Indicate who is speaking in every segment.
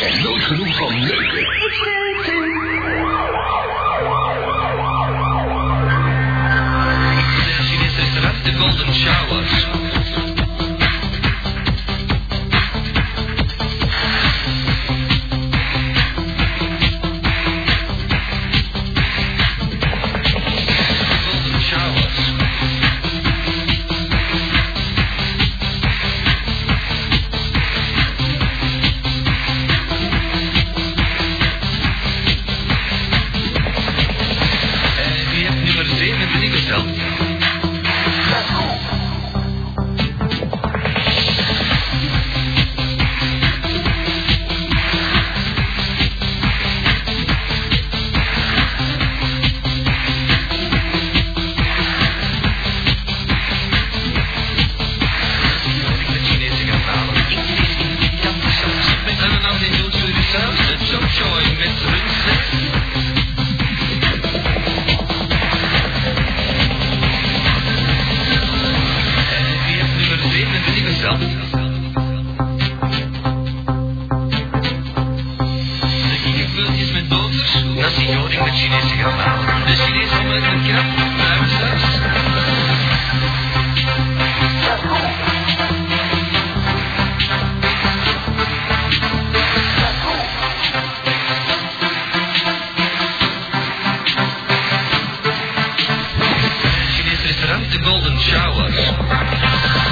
Speaker 1: genoeg van neuken.
Speaker 2: She misses the best of golden showers. Golden showers. Eh, u hebt nummer 27 besteld. Chinese garnalen. De Chinees gemaakt met krab, pruimsaus. Chinees restaurant de Golden Showers.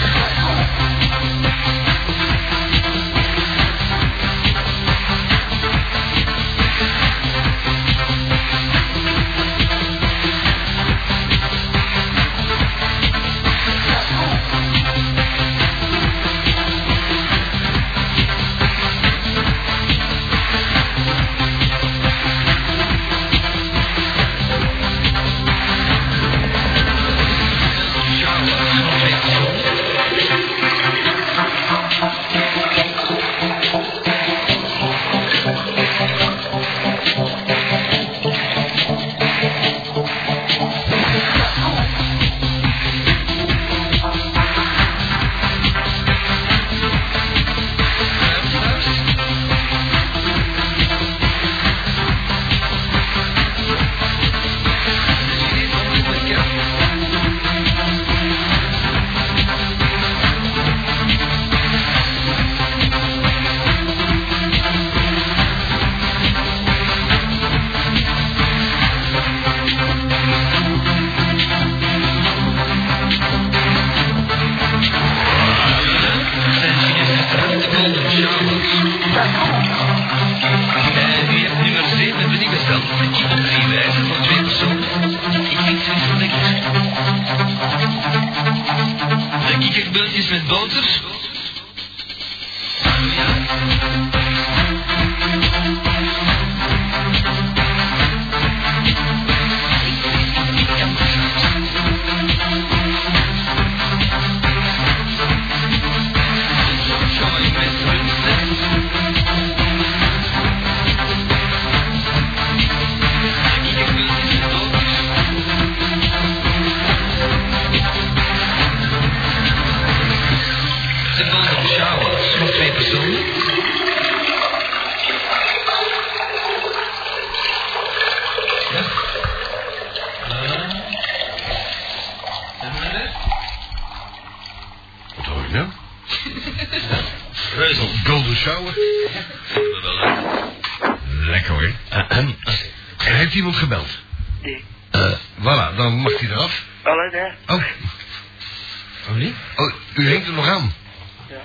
Speaker 2: Pruimsaus. De Chinees gemaakt met krab. Zijn Chinees restaurant de Golden Showers. En u hebt nummer 27 besteld. Ik op drie wijzen voor twee personen. Ik vind het zo lekker. De kikkerbeeldjes met boter. Ah, ja. Joy met rundvlees. De kikkerbeeldjes met boter. De golden showers voor twee personen. Ja.
Speaker 1: Wat hoor ik nou?
Speaker 2: Reuzel.
Speaker 1: Golden shower. Lekker hoor. Ahem. Eh, ehm, Er heeft iemand gebeld.
Speaker 3: Die.
Speaker 1: Eh, voilà, dan mag hij eraf.
Speaker 3: Allee, nee.
Speaker 1: Oh,
Speaker 2: Oh nee?
Speaker 1: oh u hangt er nog aan.
Speaker 3: Ja.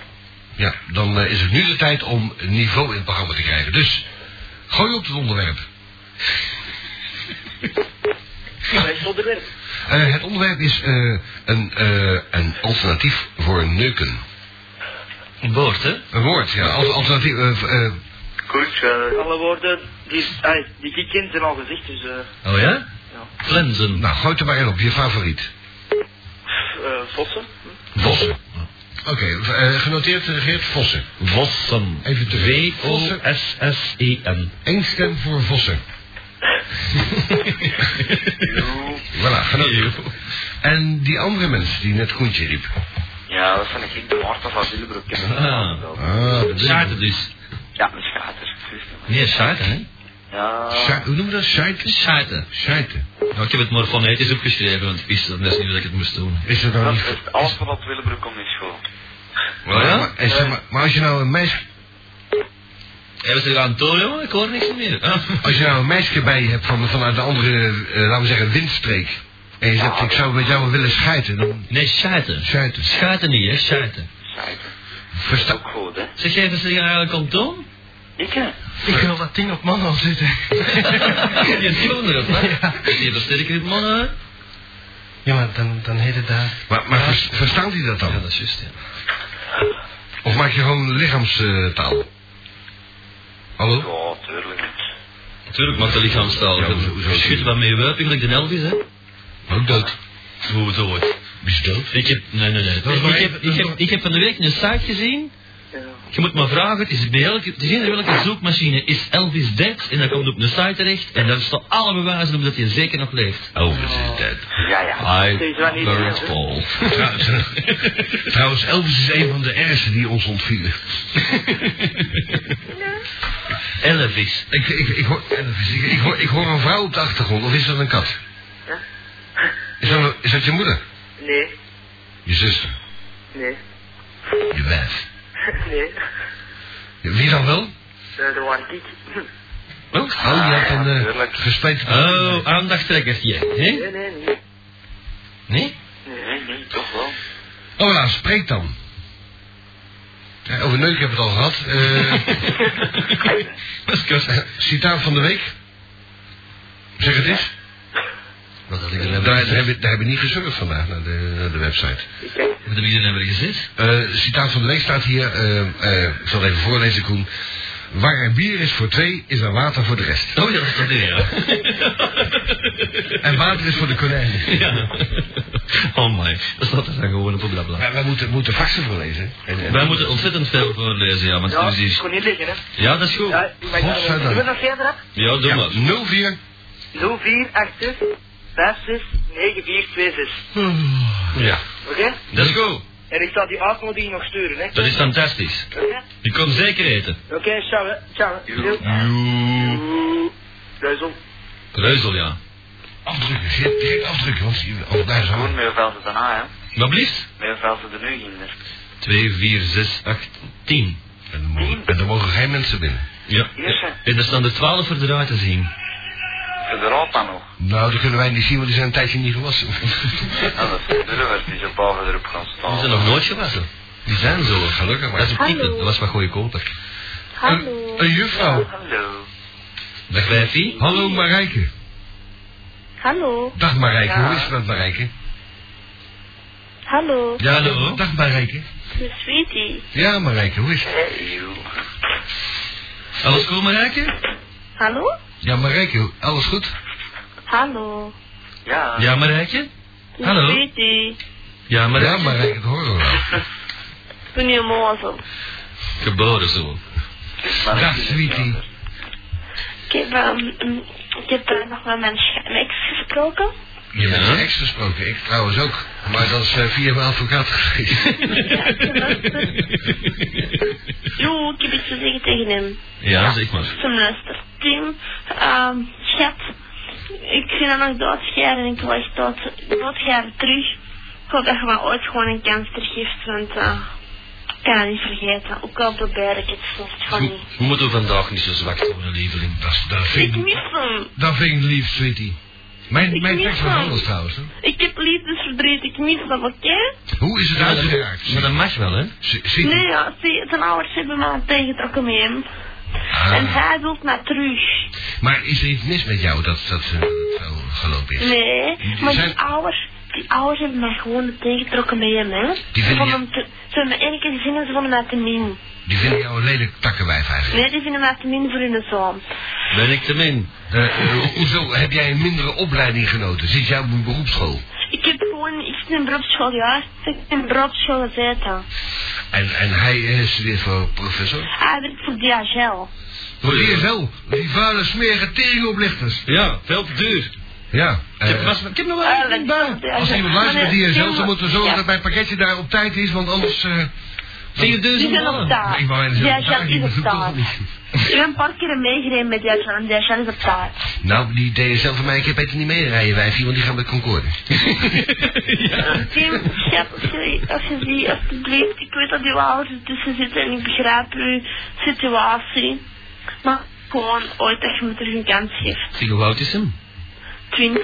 Speaker 1: Ja, dan eh, is het nu de tijd om een niveau in het programma te krijgen. Dus, gooi op het onderwerp.
Speaker 3: Dat is onderwerp.
Speaker 1: Eh, het onderwerp is eh, een, eh, een alternatief voor neuken.
Speaker 2: Een woord, hè?
Speaker 1: Een woord, ja. Als alternatief... eh, eh,
Speaker 4: eh.
Speaker 3: Alle woorden die, ai, die ik ken zijn al gezegd, dus eh
Speaker 2: Oh ja?
Speaker 3: Ja.
Speaker 2: Flensen.
Speaker 1: nou, gooi het er maar in op. Je favoriet.
Speaker 3: eh, vossen.
Speaker 1: Vossen. Oké, eh, genoteerd, eh, Geert Vossen.
Speaker 2: Vossen.
Speaker 1: Even terug.
Speaker 2: V-O-S-S-E-N.
Speaker 1: Eén stem voor Vossen. Voilà, genoteerd. En die andere mensen die net Koentje riep.
Speaker 4: Ja, dat vind ik de Marta van Willebroek.
Speaker 2: Ah.
Speaker 1: Ah,
Speaker 2: Zaterdag dus.
Speaker 3: Ja, een schater. Christus.
Speaker 2: Nee, Saiten, hè?
Speaker 3: Ja.
Speaker 1: Sui- hoe noemen we dat? Suiten?
Speaker 2: Saiten.
Speaker 1: Suiten.
Speaker 2: Nou, ik heb het maar fonetisch opgeschreven, want ik wist dat net niet dat ik het moest doen.
Speaker 1: Is dat nou
Speaker 4: Dat
Speaker 1: niet...
Speaker 4: is alles wat op Willebroek komt is school.
Speaker 2: Wat,
Speaker 1: Ja,
Speaker 2: ja?
Speaker 1: maar, en zeg maar, maar als je nou een meisje,
Speaker 2: Hebben ze er aan toon, jongen? Ik hoor niks meer. Ah.
Speaker 1: als je nou een meisje bij je hebt van, vanuit de andere, eh, laten we zeggen, windstreek. En je zegt, ik zou met jou willen scheiden, dan
Speaker 2: Nee, Saiten.
Speaker 1: scheiden.
Speaker 2: Schaiten niet, hè? Saiten.
Speaker 4: Zeiden.
Speaker 1: Versta
Speaker 4: Ook goed, hè?
Speaker 2: Zeg, geven ze er eigenlijk om toon?
Speaker 4: Ik, hè?
Speaker 5: Ik wil dat ding op man al zitten.
Speaker 2: Je toon erop, hè?
Speaker 5: Ja.
Speaker 2: Die hebben sterker in mannen, hè?
Speaker 5: Ja, maar dan, dan heet het daar.
Speaker 1: Maar, maar vers- verstaat hij dat dan?
Speaker 2: Ja, dat is juist, ja.
Speaker 1: Of maak je gewoon lichaamstaal? Hallo?
Speaker 4: Ja, tuurlijk.
Speaker 2: Natuurlijk, maar de lichaamstaal.
Speaker 1: Ja,
Speaker 2: Ja,
Speaker 1: hoezo- hoezo-
Speaker 2: Schudt wat mee wuipen, gelijk de Elvis, hè?
Speaker 1: Ook dood.
Speaker 2: Hoe het ooit.
Speaker 1: Wie is dood?
Speaker 2: Ik heb, nee, nee, nee. Ik
Speaker 1: Dat is maar
Speaker 2: heb,
Speaker 1: één-
Speaker 2: ik, heb, ik heb van de week een site gezien. Je moet maar vragen, het is bij elke, het is in welke zoekmachine is Elvis dead? En dan komt het op een site terecht en daar staan alle bewijzen op dat hij zeker nog leeft.
Speaker 1: Elvis is dead.
Speaker 4: Ja, ja.
Speaker 2: I
Speaker 3: Deze waren niet
Speaker 2: buried
Speaker 3: dead, hè?
Speaker 2: Paul.
Speaker 1: Trouwens, Elvis is een van de ergste die ons ontvielen.
Speaker 2: Elvis.
Speaker 1: Ik, ik, ik, hoor, Elvis, ik, ik hoor, ik hoor een vrouw op de achtergrond, of is dat een kat?
Speaker 3: Ja?
Speaker 1: Is dat, is dat je moeder?
Speaker 3: Nee,
Speaker 1: Je zuster?
Speaker 3: nee,
Speaker 1: Je wijf?
Speaker 3: nee.
Speaker 1: Wie dan wel?
Speaker 3: Eh, Dat was ik.
Speaker 1: Wel? Oh, je hebt een eh
Speaker 4: Natuurlijk.
Speaker 1: gespleten...
Speaker 2: Oh, aandachttrekkertje. Hè?
Speaker 3: Nee, nee, nee.
Speaker 2: Nee?
Speaker 4: Nee, nee, toch wel.
Speaker 1: Oh, nou, spreek dan. Ja, over neuk hebben we het al gehad. Eh
Speaker 2: Dat is kut.
Speaker 1: citaat van de week. Zeg het eens.
Speaker 2: Wat had ik
Speaker 1: Daar, daar,
Speaker 2: er nou weer gezegd?
Speaker 1: hebben, daar hebben we niet gesurfd vandaag naar de, naar de website.
Speaker 3: Ik kijk.
Speaker 2: Wat heb ik er nou weer gezegd?
Speaker 1: Eh, citaat van de week staat hier. eh, eh, ik zal het even voorlezen, Koen. Waar er bier is voor twee, is er water voor de rest.
Speaker 2: Oh ja, dat is dat weer, ja.
Speaker 1: En water is voor de konijnen.
Speaker 2: ja. Oh my, dat staat er dan gewoon op een blabla.
Speaker 1: Maar wij moeten, moeten faxen voorlezen. En, en,
Speaker 2: Wij moeten ontzettend veel voorlezen, ja, want
Speaker 3: Ja,
Speaker 2: het is
Speaker 3: ik
Speaker 2: hier-
Speaker 3: kon niet liggen, hè.
Speaker 2: Ja, dat is goed.
Speaker 3: Ja, maar ik
Speaker 1: Godzijdank.
Speaker 3: ben nog verder, hè.
Speaker 2: Ja, doe
Speaker 1: ja,
Speaker 2: maar.
Speaker 1: 04.
Speaker 3: 0486 5426.
Speaker 1: Oh,
Speaker 2: Ja.
Speaker 3: Oké?
Speaker 2: Dat is goed.
Speaker 3: En ik zal die uitnodiging nog sturen, hè.
Speaker 2: Dat is fantastisch.
Speaker 3: Oké?
Speaker 2: Je komt zeker eten.
Speaker 3: Oké, ciao, hè. Ciao. hè. Doei.
Speaker 2: Joe.
Speaker 3: Doei. Duizel.
Speaker 2: Reuzel, ja.
Speaker 1: Afdrukken, geen, geen afdrukken, want die- oh, daar is
Speaker 4: Gewoon
Speaker 1: al.
Speaker 4: met hoeveel ze daarna, hè?
Speaker 2: Wat blieft?
Speaker 4: Met hoeveel ze er nu gingen.
Speaker 2: 2, 4, 6, 8, 10.
Speaker 1: En er mogen, en er mogen geen mensen binnen.
Speaker 2: Ja. En er staan er 12 voor de raad te zien.
Speaker 4: Voor de Europa nog.
Speaker 1: Nou, die kunnen wij niet zien, want die zijn een tijdje niet gewassen.
Speaker 4: En dat is de rubbers die zo boven erop gaan staan.
Speaker 2: Die zijn nog nooit gewassen.
Speaker 1: Die zijn zo, gelukkig
Speaker 2: Dat is
Speaker 1: maar.
Speaker 2: een type. Dat was wat goedkoper.
Speaker 1: Een, een juffrouw.
Speaker 4: Hallo.
Speaker 2: Dag Wijfie.
Speaker 1: Hallo Marijke.
Speaker 6: Hallo,
Speaker 1: Dag Marijke,
Speaker 4: Ja.
Speaker 1: hoe is het met Marijke?
Speaker 6: hallo,
Speaker 2: Ja, hallo.
Speaker 1: Dag Marijke.
Speaker 6: de sweetie.
Speaker 1: Ja Marijke, hoe is het?
Speaker 4: Hey, joh.
Speaker 2: Alles goed, Marijke?
Speaker 6: Hallo?
Speaker 1: Ja Marijke, alles goed?
Speaker 6: Hallo,
Speaker 4: Ja.
Speaker 2: Ja, Marijke?
Speaker 6: de
Speaker 2: Hallo.
Speaker 6: sweetie.
Speaker 2: Ja,
Speaker 1: Ja
Speaker 2: Marijke.
Speaker 1: Marijke, dat horen we wel.
Speaker 6: Goedemorgen.
Speaker 2: Geboren zo.
Speaker 4: Maar
Speaker 1: Dag
Speaker 4: ik-
Speaker 1: sweetie.
Speaker 6: Ik heb, ehm, ehm, ik heb eh, nog met mijn sch- mijn ex gesproken.
Speaker 1: Je bent
Speaker 2: Ja.
Speaker 1: je ex gesproken, ik trouwens ook. Maar dat is eh, via mijn advocaat geweest.
Speaker 6: Jo, ik heb iets te zeggen tegen hem.
Speaker 2: Ja, zeg maar.
Speaker 6: Tim luister. Tim, ehm, schat, ik vind hem nog doodscheren en ik wil echt dood, doodscheren terug. Ik hoop dat je me ooit gewoon een kans tergeeft, want eh, ik kan het niet vergeten. Ook al probeer ik het soms van niet.
Speaker 2: We moeten vandaag niet zo zwak worden, lieveling.
Speaker 1: Dat, is- dat,
Speaker 6: Ik
Speaker 1: vind, ik-
Speaker 6: mis hem.
Speaker 1: dat vind ik lief, sweetie. Mijn,
Speaker 6: Ik
Speaker 1: mijn
Speaker 6: niet
Speaker 1: tekst was
Speaker 6: van.
Speaker 1: anders trouwens. Hè?
Speaker 6: Ik heb liefdesverdriet, ik mis dat, oké?
Speaker 1: Hoe is het uitgeraakt?
Speaker 2: Maar dat mag wel, hè?
Speaker 1: Zit-
Speaker 6: Nee,
Speaker 1: Zit
Speaker 6: ja, zie, zijn ouders hebben me al tegengetrokken met hem. En
Speaker 1: Ah,
Speaker 6: hij wil naar terug.
Speaker 1: Maar is er iets mis met jou dat dat, eh, dat het zo gelopen is?
Speaker 6: Nee,
Speaker 1: Die
Speaker 6: maar
Speaker 1: zijn-
Speaker 6: die ouders, die ouders hebben mij gewoon tegengetrokken met hem, hè?
Speaker 1: Die
Speaker 6: ze
Speaker 1: vinden
Speaker 6: vonden
Speaker 1: je-
Speaker 6: hem te, ze hebben me één keer gezien en ze vonden mij te min.
Speaker 1: Die vinden jou een lelijk takkenwijf eigenlijk.
Speaker 6: Nee, die vinden mij te min voor hun zoon.
Speaker 2: Ben ik te min?
Speaker 1: Eh, eh, ho- hoezo heb jij een mindere opleiding genoten? Zit jij op een beroepsschool?
Speaker 6: Ik heb gewoon, ik zit in beroepsschool, ja. Ik zit in beroepsschool gezeten.
Speaker 1: En, en hij eh, studeert voor professor?
Speaker 6: Hij werkt voor DHL.
Speaker 1: Voor wel. die vuile smerige teringoplichters.
Speaker 2: Ja, veel te duur.
Speaker 1: Ja.
Speaker 2: Ik heb,
Speaker 1: eh,
Speaker 2: was- ik heb nog wel
Speaker 6: Eigenlijk
Speaker 2: een baan.
Speaker 6: voor DHL.
Speaker 1: als iemand luistert
Speaker 6: Maar
Speaker 1: met
Speaker 6: nee,
Speaker 1: DSL,
Speaker 6: Tim-
Speaker 1: dan moeten we zorgen
Speaker 6: eh, ja.
Speaker 1: dat mijn pakketje daar op tijd is, want anders eh,
Speaker 2: 4000
Speaker 6: zijn op
Speaker 2: mannen.
Speaker 6: taart.
Speaker 1: Ik wou bijna
Speaker 6: Ja,
Speaker 1: zeggen,
Speaker 6: Jan
Speaker 1: daar
Speaker 6: is op
Speaker 1: bezoekt ons
Speaker 6: taart.
Speaker 1: niet.
Speaker 6: Ik ben een paar keer meegereden met Duitsland en Duitsland is op taart.
Speaker 1: Nou, die DSL van mij, ik heb beter niet meerijden, wijfie, want die gaan met Concorde.
Speaker 6: Tim, schat, als je, als je die, alsjeblieft, ik weet dat uw ouders ertussen zitten en ik begrijp uw situatie. Maar gewoon ooit dat je me terug een kans geeft.
Speaker 2: Zeg, hoe oud is hem?
Speaker 6: 20.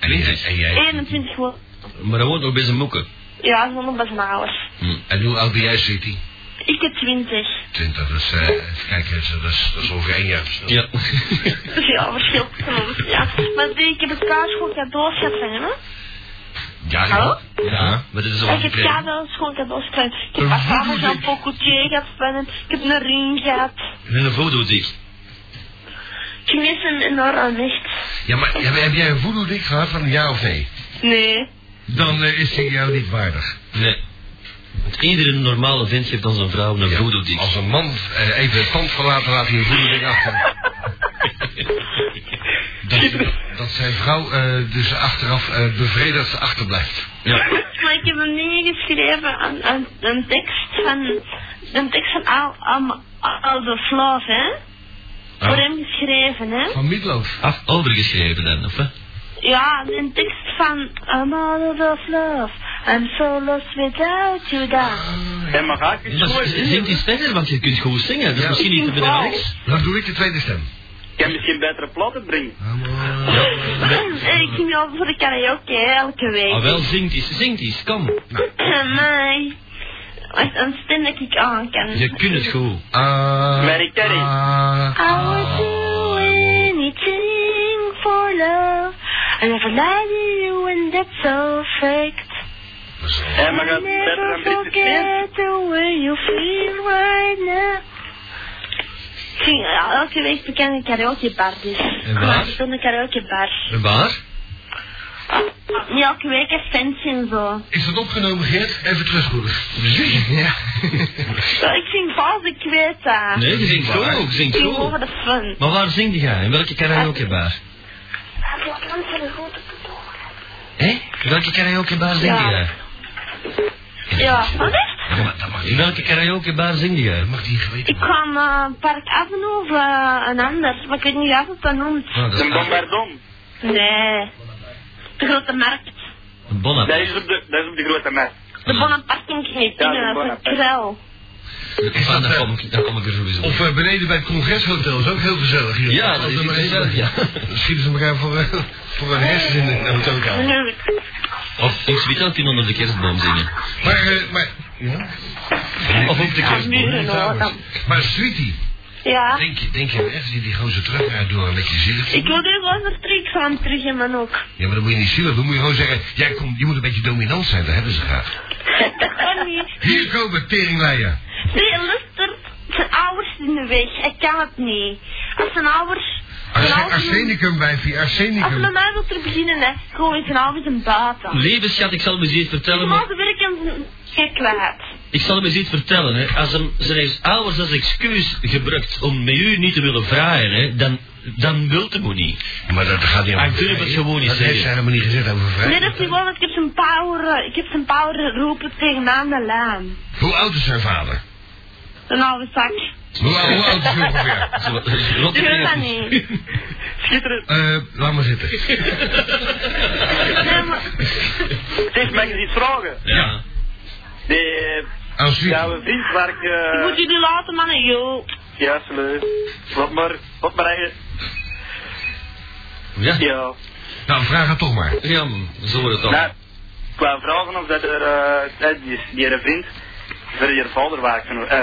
Speaker 1: En jij? En, jij,
Speaker 6: 21 wordt.
Speaker 2: Maar hij woont nog bij zijn moeken.
Speaker 6: Ja, zonder bij zijn ouders.
Speaker 1: en hoe oud ben jij, City?
Speaker 6: Ik heb 20.
Speaker 1: 20, dat is, eh, even kijken, dat is, dat is- dat is ongeveer één jaar. verschil.
Speaker 2: Ja.
Speaker 6: Ja, verschil. Ja. Maar die, ik heb het kaaschool cadeau gekregen, hè?
Speaker 1: Ja,
Speaker 6: Hallo?
Speaker 2: Ja, maar dit is al
Speaker 6: Ik heb
Speaker 2: gekregen.
Speaker 6: kabelschool cadeau gekregen. Ik heb afgehaald een pokoetje gehad van hem. Ik heb een ring gehad.
Speaker 2: En een foto dicht.
Speaker 6: Ik mis een enorm echt.
Speaker 1: Ja, maar heb, heb jij een voodoo-dik gehad van ja of nee?
Speaker 6: Nee.
Speaker 1: Dan eh, is hij jou niet waardig.
Speaker 2: Nee. Want iedere normale vent geeft dan zijn vrouw een
Speaker 1: Ja,
Speaker 2: voodoo dik.
Speaker 1: Als een man eh, even het pand verlaten, laat hij een voodoo-dik achter. Dat, dat zijn vrouw eh, dus achteraf eh, bevredigd achterblijft.
Speaker 2: Ja.
Speaker 6: Maar ik heb hem niet geschreven aan, aan een tekst van... Een tekst van Al, Al, Al de Flav, hè?
Speaker 2: Ah.
Speaker 6: Voor hem geschreven, hè?
Speaker 1: Van Midloof.
Speaker 2: Af, overgeschreven dan, of hè?
Speaker 6: Ja, een tekst van I'm out of love. I'm so lost without you, down.
Speaker 3: Hé, maar ga ik eens
Speaker 2: Maar
Speaker 3: goed
Speaker 2: zing
Speaker 3: zingen?
Speaker 2: die sneller, want je kunt goed zingen. Dat is
Speaker 1: Ja.
Speaker 2: misschien niet te
Speaker 6: Wauw.
Speaker 2: belangrijk.
Speaker 1: Dan doe ik de tweede stem.
Speaker 3: Ik kan misschien betere platen brengen.
Speaker 6: En Eh, ik ging wel voor de karaoke hè, elke week.
Speaker 2: Ah wel, zingt iets, zingt iets, kom.
Speaker 6: Nee. Echt een stem dat ik aan kan.
Speaker 2: Je kunt het goed.
Speaker 1: Ah.
Speaker 3: Mary Carey.
Speaker 1: ah,
Speaker 6: I would do anything for love. I never lied to you and that's so fact.
Speaker 3: Hé, maar gaat
Speaker 6: I
Speaker 3: het beter dan
Speaker 6: never
Speaker 3: Britse Spears?
Speaker 6: forget the way you feel right now. Ik ging elke week bekende karaokebar dus.
Speaker 2: En waar?
Speaker 6: Maar ik ben een karaokebar.
Speaker 2: En waar?
Speaker 6: Niet elke week een fancy en zo.
Speaker 1: Is dat opgenomen, Geert? Even terugspoelen. Ja.
Speaker 6: Ja, Ik ging vals, ik weet dat.
Speaker 2: Nee, je zingt
Speaker 1: Waar?
Speaker 2: zo, je
Speaker 6: Ik
Speaker 2: zingt
Speaker 6: ging
Speaker 2: zo.
Speaker 6: over de fun.
Speaker 2: Maar waar zingt jij? In welke karaokebar? Hé? In welke karaokebar zing
Speaker 6: Ja.
Speaker 2: jij?
Speaker 6: Ja, wat is
Speaker 1: Ja, maar dat mag
Speaker 2: In
Speaker 1: niet.
Speaker 2: welke karaokebar zing jij?
Speaker 1: Dat mag niet geweten
Speaker 6: Ik kwam eh Park Avenue of eh, een ander, maar ik weet niet hoe het dat noemt.
Speaker 2: Ah,
Speaker 1: worden. Nou, dat
Speaker 3: De
Speaker 1: is-
Speaker 3: Bombardon.
Speaker 6: Nee. De grote markt.
Speaker 2: Bonna.
Speaker 3: Dat is op de, dat is op de grote markt.
Speaker 6: De Bonaparte ging ik niet
Speaker 3: Ja,
Speaker 6: in,
Speaker 3: de
Speaker 6: dat is
Speaker 3: Bonaparte.
Speaker 6: een kwel.
Speaker 1: Is
Speaker 2: Ah,
Speaker 1: dat,
Speaker 2: dan
Speaker 1: eh,
Speaker 2: kom ik, dan kom ik er sowieso.
Speaker 1: Of eh, beneden bij het congreshotel is ook heel gezellig. Hier.
Speaker 2: Ja, dat is
Speaker 1: er maar eens-
Speaker 2: iets gezellig, ja.
Speaker 1: Dan schieten ze elkaar voor, eh, voor hun hersens in de hotelkamer.
Speaker 6: Nu,
Speaker 2: Of in Zwitserland onder de kerstboom zingen.
Speaker 1: Maar, eh, maar... Ja?
Speaker 2: Of op de
Speaker 6: aan
Speaker 2: kerstboom.
Speaker 6: muren hoor. dan.
Speaker 1: Maar Sweetie,
Speaker 6: Ja.
Speaker 1: denk je, denk je echt dat je die gozer terug gaat doen met je zielig?
Speaker 6: Ik wil er gewoon naar terug, ik zal hem terug in mijn hoek.
Speaker 1: Ja, maar dan moet je niet zielig doen. Moet je gewoon zeggen, jij komt, je moet een beetje dominant zijn. Dat hebben ze graag.
Speaker 6: Dat kan niet.
Speaker 1: Hier komen teringleier.
Speaker 6: Nee, luister, zijn ouders in de weg, ik kan het niet. Als zijn ouders...
Speaker 1: Arse-
Speaker 6: zijn ouders-
Speaker 1: Arsenicum, wijfie,
Speaker 6: Als hij met
Speaker 1: arsenicum.
Speaker 6: mij wilt er beginnen, hè, gewoon is zijn ouders een baten.
Speaker 2: Lieve schat, ik zal hem eens iets vertellen, maar...
Speaker 6: Normaal werk hem zijn gek kwijt.
Speaker 2: Ik zal hem eens iets vertellen, hè. Als hem zijn ouders als excuus gebruikt om met u niet te willen vragen, hè, dan, dan wilt hem ook niet.
Speaker 1: Maar dat gaat niet
Speaker 2: Hij durft het gewoon niet
Speaker 1: Dat
Speaker 2: zeggen.
Speaker 1: heeft zij helemaal niet gezegd over
Speaker 6: Nee,
Speaker 1: vrijheid.
Speaker 6: dat is niet waar, want ik heb zijn power, ik heb zijn power roepen tegen me aan de laan.
Speaker 1: Hoe oud is zijn vader?
Speaker 6: Een oude zak.
Speaker 1: Hoe, hoe oud is hij ongeveer?
Speaker 2: Zo, eh, rot
Speaker 6: Ik weet
Speaker 2: op-
Speaker 6: dat niet.
Speaker 3: Schitterend.
Speaker 1: Eh, laat maar zitten.
Speaker 6: Nee, maar,
Speaker 3: Zeg, mag ik eens iets vragen?
Speaker 2: Ja.
Speaker 3: Die eh,
Speaker 1: Aan Sweetie.
Speaker 3: jouw vriend waar ik...
Speaker 6: ik
Speaker 3: eh,
Speaker 6: moet jullie laten, mannen, joh.
Speaker 3: Ja, sleu. Wat maar, wat maar eigen.
Speaker 2: Ja.
Speaker 3: Ja.
Speaker 1: Nou, vraag het toch maar.
Speaker 2: Ja, man, zo wordt het al.
Speaker 3: Nou, ik wou vragen of dat er, eh, dat die, die vriend voor je vader waakte, eh,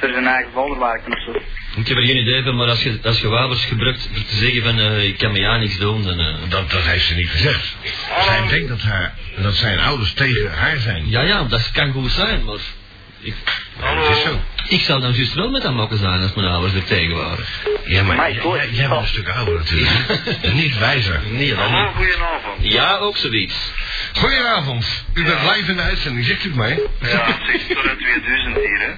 Speaker 3: voor zijn eigen vader waakte of zo.
Speaker 2: Ik heb er geen idee van, maar als je, als je wapens gebruikt om te zeggen van eh, ik kan me ja niks doen, dan... eh,
Speaker 1: Dat, dat heeft ze niet gezegd. Zij denkt dat, haar, dat zijn ouders tegen haar zijn.
Speaker 2: ja, ja, dat kan goed zijn, maar... Ik,
Speaker 1: Ja, dat is zo.
Speaker 2: ik zou dan juist wel met hem mogen zijn als mijn ouders er tegen waren.
Speaker 1: Ja, maar
Speaker 3: Maar
Speaker 1: jij-
Speaker 3: goed.
Speaker 1: jij, jij bent een stuk ouder natuurlijk. En niet wijzer.
Speaker 2: Nee, dan
Speaker 4: Hallo,
Speaker 2: niet.
Speaker 4: goedenavond.
Speaker 2: Ja, ook zoiets.
Speaker 1: Goedenavond. U bent
Speaker 4: Ja.
Speaker 1: live in de uitzending. Zegt u het mij?
Speaker 4: Ja, zeg, Torra 2000 hier, hè.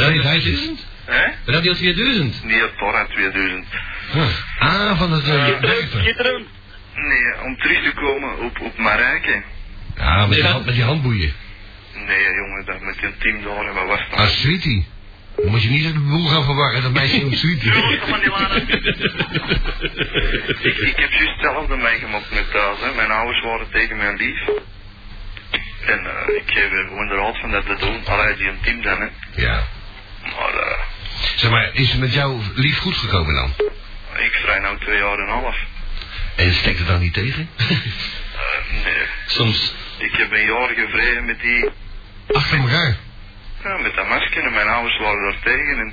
Speaker 2: Radio
Speaker 1: hij is-
Speaker 2: 2000?
Speaker 4: Hè?
Speaker 2: Radio 2000?
Speaker 4: Nee, Torra 2000.
Speaker 1: Ah, van het eh, werken.
Speaker 3: Schitterend.
Speaker 4: Nee, om terug te komen op, op Marijke.
Speaker 1: Ah, Ja, met die, hand- met die handboeien.
Speaker 4: Nee, jongen, dat met een team door, wat was dat?
Speaker 1: Ah, sweetie. Dan moet je niet de boel gaan verwarren, dat meisje noemt sweetie.
Speaker 3: Kom maar, Dilana.
Speaker 4: Ik, ik heb juist hetzelfde meegemaakt met thuis. Hè. Mijn ouders waren tegen mijn lief. En eh, ik geef er gewoon de raad van dat te doen. Allee, die een team dan, hè.
Speaker 1: Ja.
Speaker 4: Maar eh,
Speaker 1: Zeg maar, is het met jou lief goed gekomen dan?
Speaker 4: ik vrij nou twee jaar en een half.
Speaker 1: En steekt het dan niet tegen?
Speaker 4: Eh, nee,
Speaker 2: Soms.
Speaker 4: ik heb een jaar gevreden met die...
Speaker 1: Achter elkaar.
Speaker 4: Ja, met dat masker. En mijn ouders waren daar tegen. En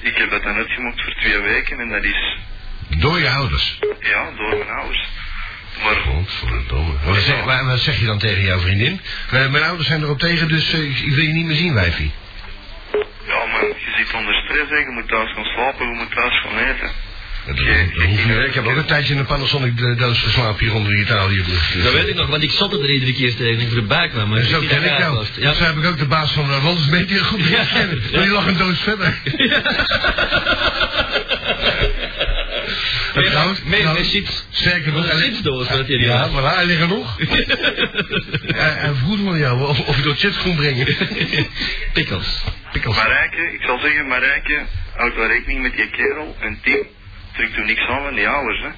Speaker 4: ik heb dat dan uitgemokt voor twee weken. En dat is,
Speaker 1: Door je ouders.
Speaker 4: ja, door mijn ouders. Maar
Speaker 1: Godverdomme. Wat zeg, maar wat zeg je dan tegen jouw vriendin? Eh, mijn ouders zijn erop tegen, dus eh, ik- ik wil je niet meer zien, wijfie.
Speaker 4: Ja, man, je zit onder stress, hè. je moet thuis gaan slapen, je moet thuis gaan eten.
Speaker 1: Dat, dat- dat hoeft niet, hè. Ik heb ook een tijdje in een Panasonic eh, doos geslapen hier onder die Italië.
Speaker 2: Dat weet ik nog, want ik zat er iedere keer tegen en ik voorbij kwam. Maar
Speaker 1: En zo
Speaker 2: die
Speaker 1: ken ik
Speaker 2: raar
Speaker 1: jou.
Speaker 2: was.
Speaker 1: Ja.
Speaker 2: Ja,
Speaker 1: Zo heb ik ook de baas van uh, Wonders Media goed leren kennen. Maar die lag een doos verder. En trouwens-
Speaker 2: Meer
Speaker 1: trouwens-
Speaker 2: chips.
Speaker 1: Sterker nog,
Speaker 2: Een
Speaker 1: hij-
Speaker 2: chipsdoos had hij
Speaker 1: Ja,
Speaker 2: niet.
Speaker 1: maar hij ligt er nog. hij, hij vroeg me aan jou of, of ik door chips kon brengen.
Speaker 2: Pickles.
Speaker 1: Pikkels.
Speaker 4: Marijke, ik zal zeggen, Marijke, houd wel rekening met die kerel en team. Trek toen niks aan van die ouders, hè.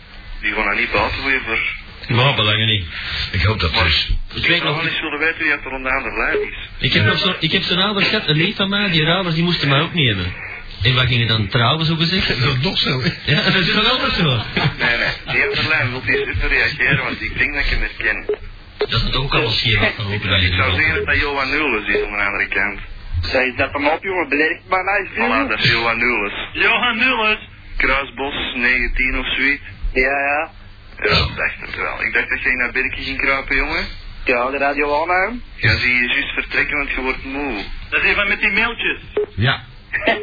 Speaker 4: Die gaan er niet buiten weer voor.
Speaker 2: Maar Nou, belangen niet.
Speaker 1: Ik hoop dat dus.
Speaker 2: Ik
Speaker 4: Ik
Speaker 2: weet
Speaker 4: zou wel
Speaker 2: nog,
Speaker 4: eens willen weten wie dat er onder andere lijf is.
Speaker 2: Ik heb, nog zo, ik heb zo'n ouders gehad, een neef van mij, die ouders die moesten mij ook niet hebben. En wat gingen dan trouwen, zo gezegd?
Speaker 1: Dat is nog zo. hè.
Speaker 2: Ja, dat is wel nog zo.
Speaker 4: Nee, nee, die andere lijn wil eerst even reageren, want ik denk dat je hem herkent.
Speaker 2: Dat is ook al een schema van
Speaker 4: Ik zou zeggen
Speaker 2: opleiding.
Speaker 4: dat dat Johan Nulles is aan de andere kant.
Speaker 3: Zij zet hem op, jongen. Beledigd maar mij.
Speaker 4: Voilà, dat is Johan Nulles.
Speaker 3: Johan Mullers.
Speaker 4: Kruisbos, 19 of zoiets.
Speaker 3: Ja, ja.
Speaker 4: Ja, ik dacht het wel. Ik dacht dat jij naar Birkje ging kruipen, jongen.
Speaker 3: Ja, de radio aan hem.
Speaker 4: Ja, zie je juist vertrekken, want je wordt moe.
Speaker 3: Dat is even met die mailtjes.
Speaker 1: Ja.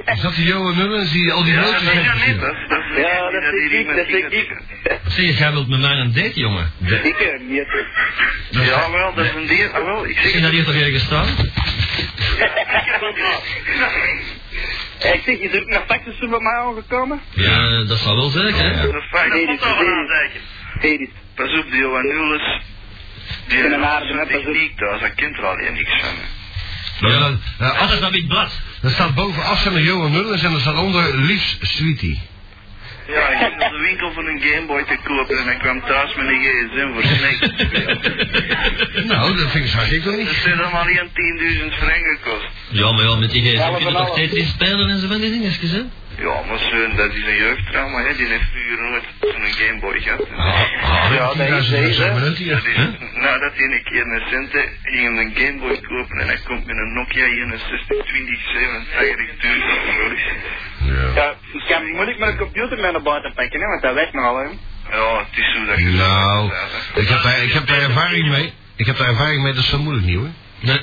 Speaker 1: Is dat die Johan Mullens die al die nootjes
Speaker 4: dat is
Speaker 1: heeft
Speaker 4: niet.
Speaker 1: gezien?
Speaker 4: Dat, dat is
Speaker 3: Ja, dat
Speaker 4: die
Speaker 3: vind ik,
Speaker 4: riemen
Speaker 3: dat
Speaker 4: zien
Speaker 3: vind ik.
Speaker 2: Zeg, jij wilt met mij een date, jongen?
Speaker 3: Ik eh, heb niet.
Speaker 1: Dat-
Speaker 4: Ja, wel, dat is een dier. Ah, wel, ik zeg
Speaker 2: Zeg,
Speaker 4: het.
Speaker 2: dat hier toch ergens staan?
Speaker 3: Ik zeg, is er ook nog pakjes bij mij aangekomen?
Speaker 2: Ja, dat zal wel zeker, hè?
Speaker 4: Dat is fijn.
Speaker 3: Nee, dit is- Edith.
Speaker 4: Pas op, die Johan Nulis. Die
Speaker 3: Ik ben
Speaker 4: heeft
Speaker 3: een aardige,
Speaker 4: zo'n
Speaker 3: hè, pas op.
Speaker 4: techniek thuis, dat kent er alleen niks van. hè.
Speaker 1: Ja, dan- nou,
Speaker 2: Alles
Speaker 1: af-
Speaker 2: is dat wit blad.
Speaker 1: Er staat boven afzender Johan Mullens en er staat onder Liefst Sweetie.
Speaker 4: Ja, ik ging naar de winkel van een Gameboy te kopen en ik kwam thuis met een gsm voor Snake te spelen.
Speaker 1: Nou, dat vind ik hartstikke
Speaker 4: Dat
Speaker 1: niet.
Speaker 4: zijn allemaal geen 10.000 frank gekost.
Speaker 2: Ja, maar ja, met die idee
Speaker 3: Alles
Speaker 2: kun je
Speaker 3: en
Speaker 2: toch
Speaker 3: alles.
Speaker 2: Tetris spelen en zo van die dingetjes, hè?
Speaker 4: Ja, maar zo'n, dat is een jeugdtrauma, hè. Die heeft vroeger nooit zo'n Gameboy gehad.
Speaker 1: Ah,
Speaker 3: Ja, dat is deze.
Speaker 4: Dat is, nadat hij een keer een centen ging hem een Gameboy kopen en hij komt met een Nokia 61 20 87 duur.
Speaker 1: Ja.
Speaker 3: Ja, ik kan moeilijk mijn computer mee naar buiten pakken, hè, want dat werkt nogal, hè.
Speaker 4: Ja, het is zo dat je...
Speaker 1: Nou,
Speaker 4: Ja, hè.
Speaker 1: ik heb, daar, ik heb daar ervaring mee. Ik heb daar ervaring mee, dat is zo moeilijk niet hoor.
Speaker 2: Nee.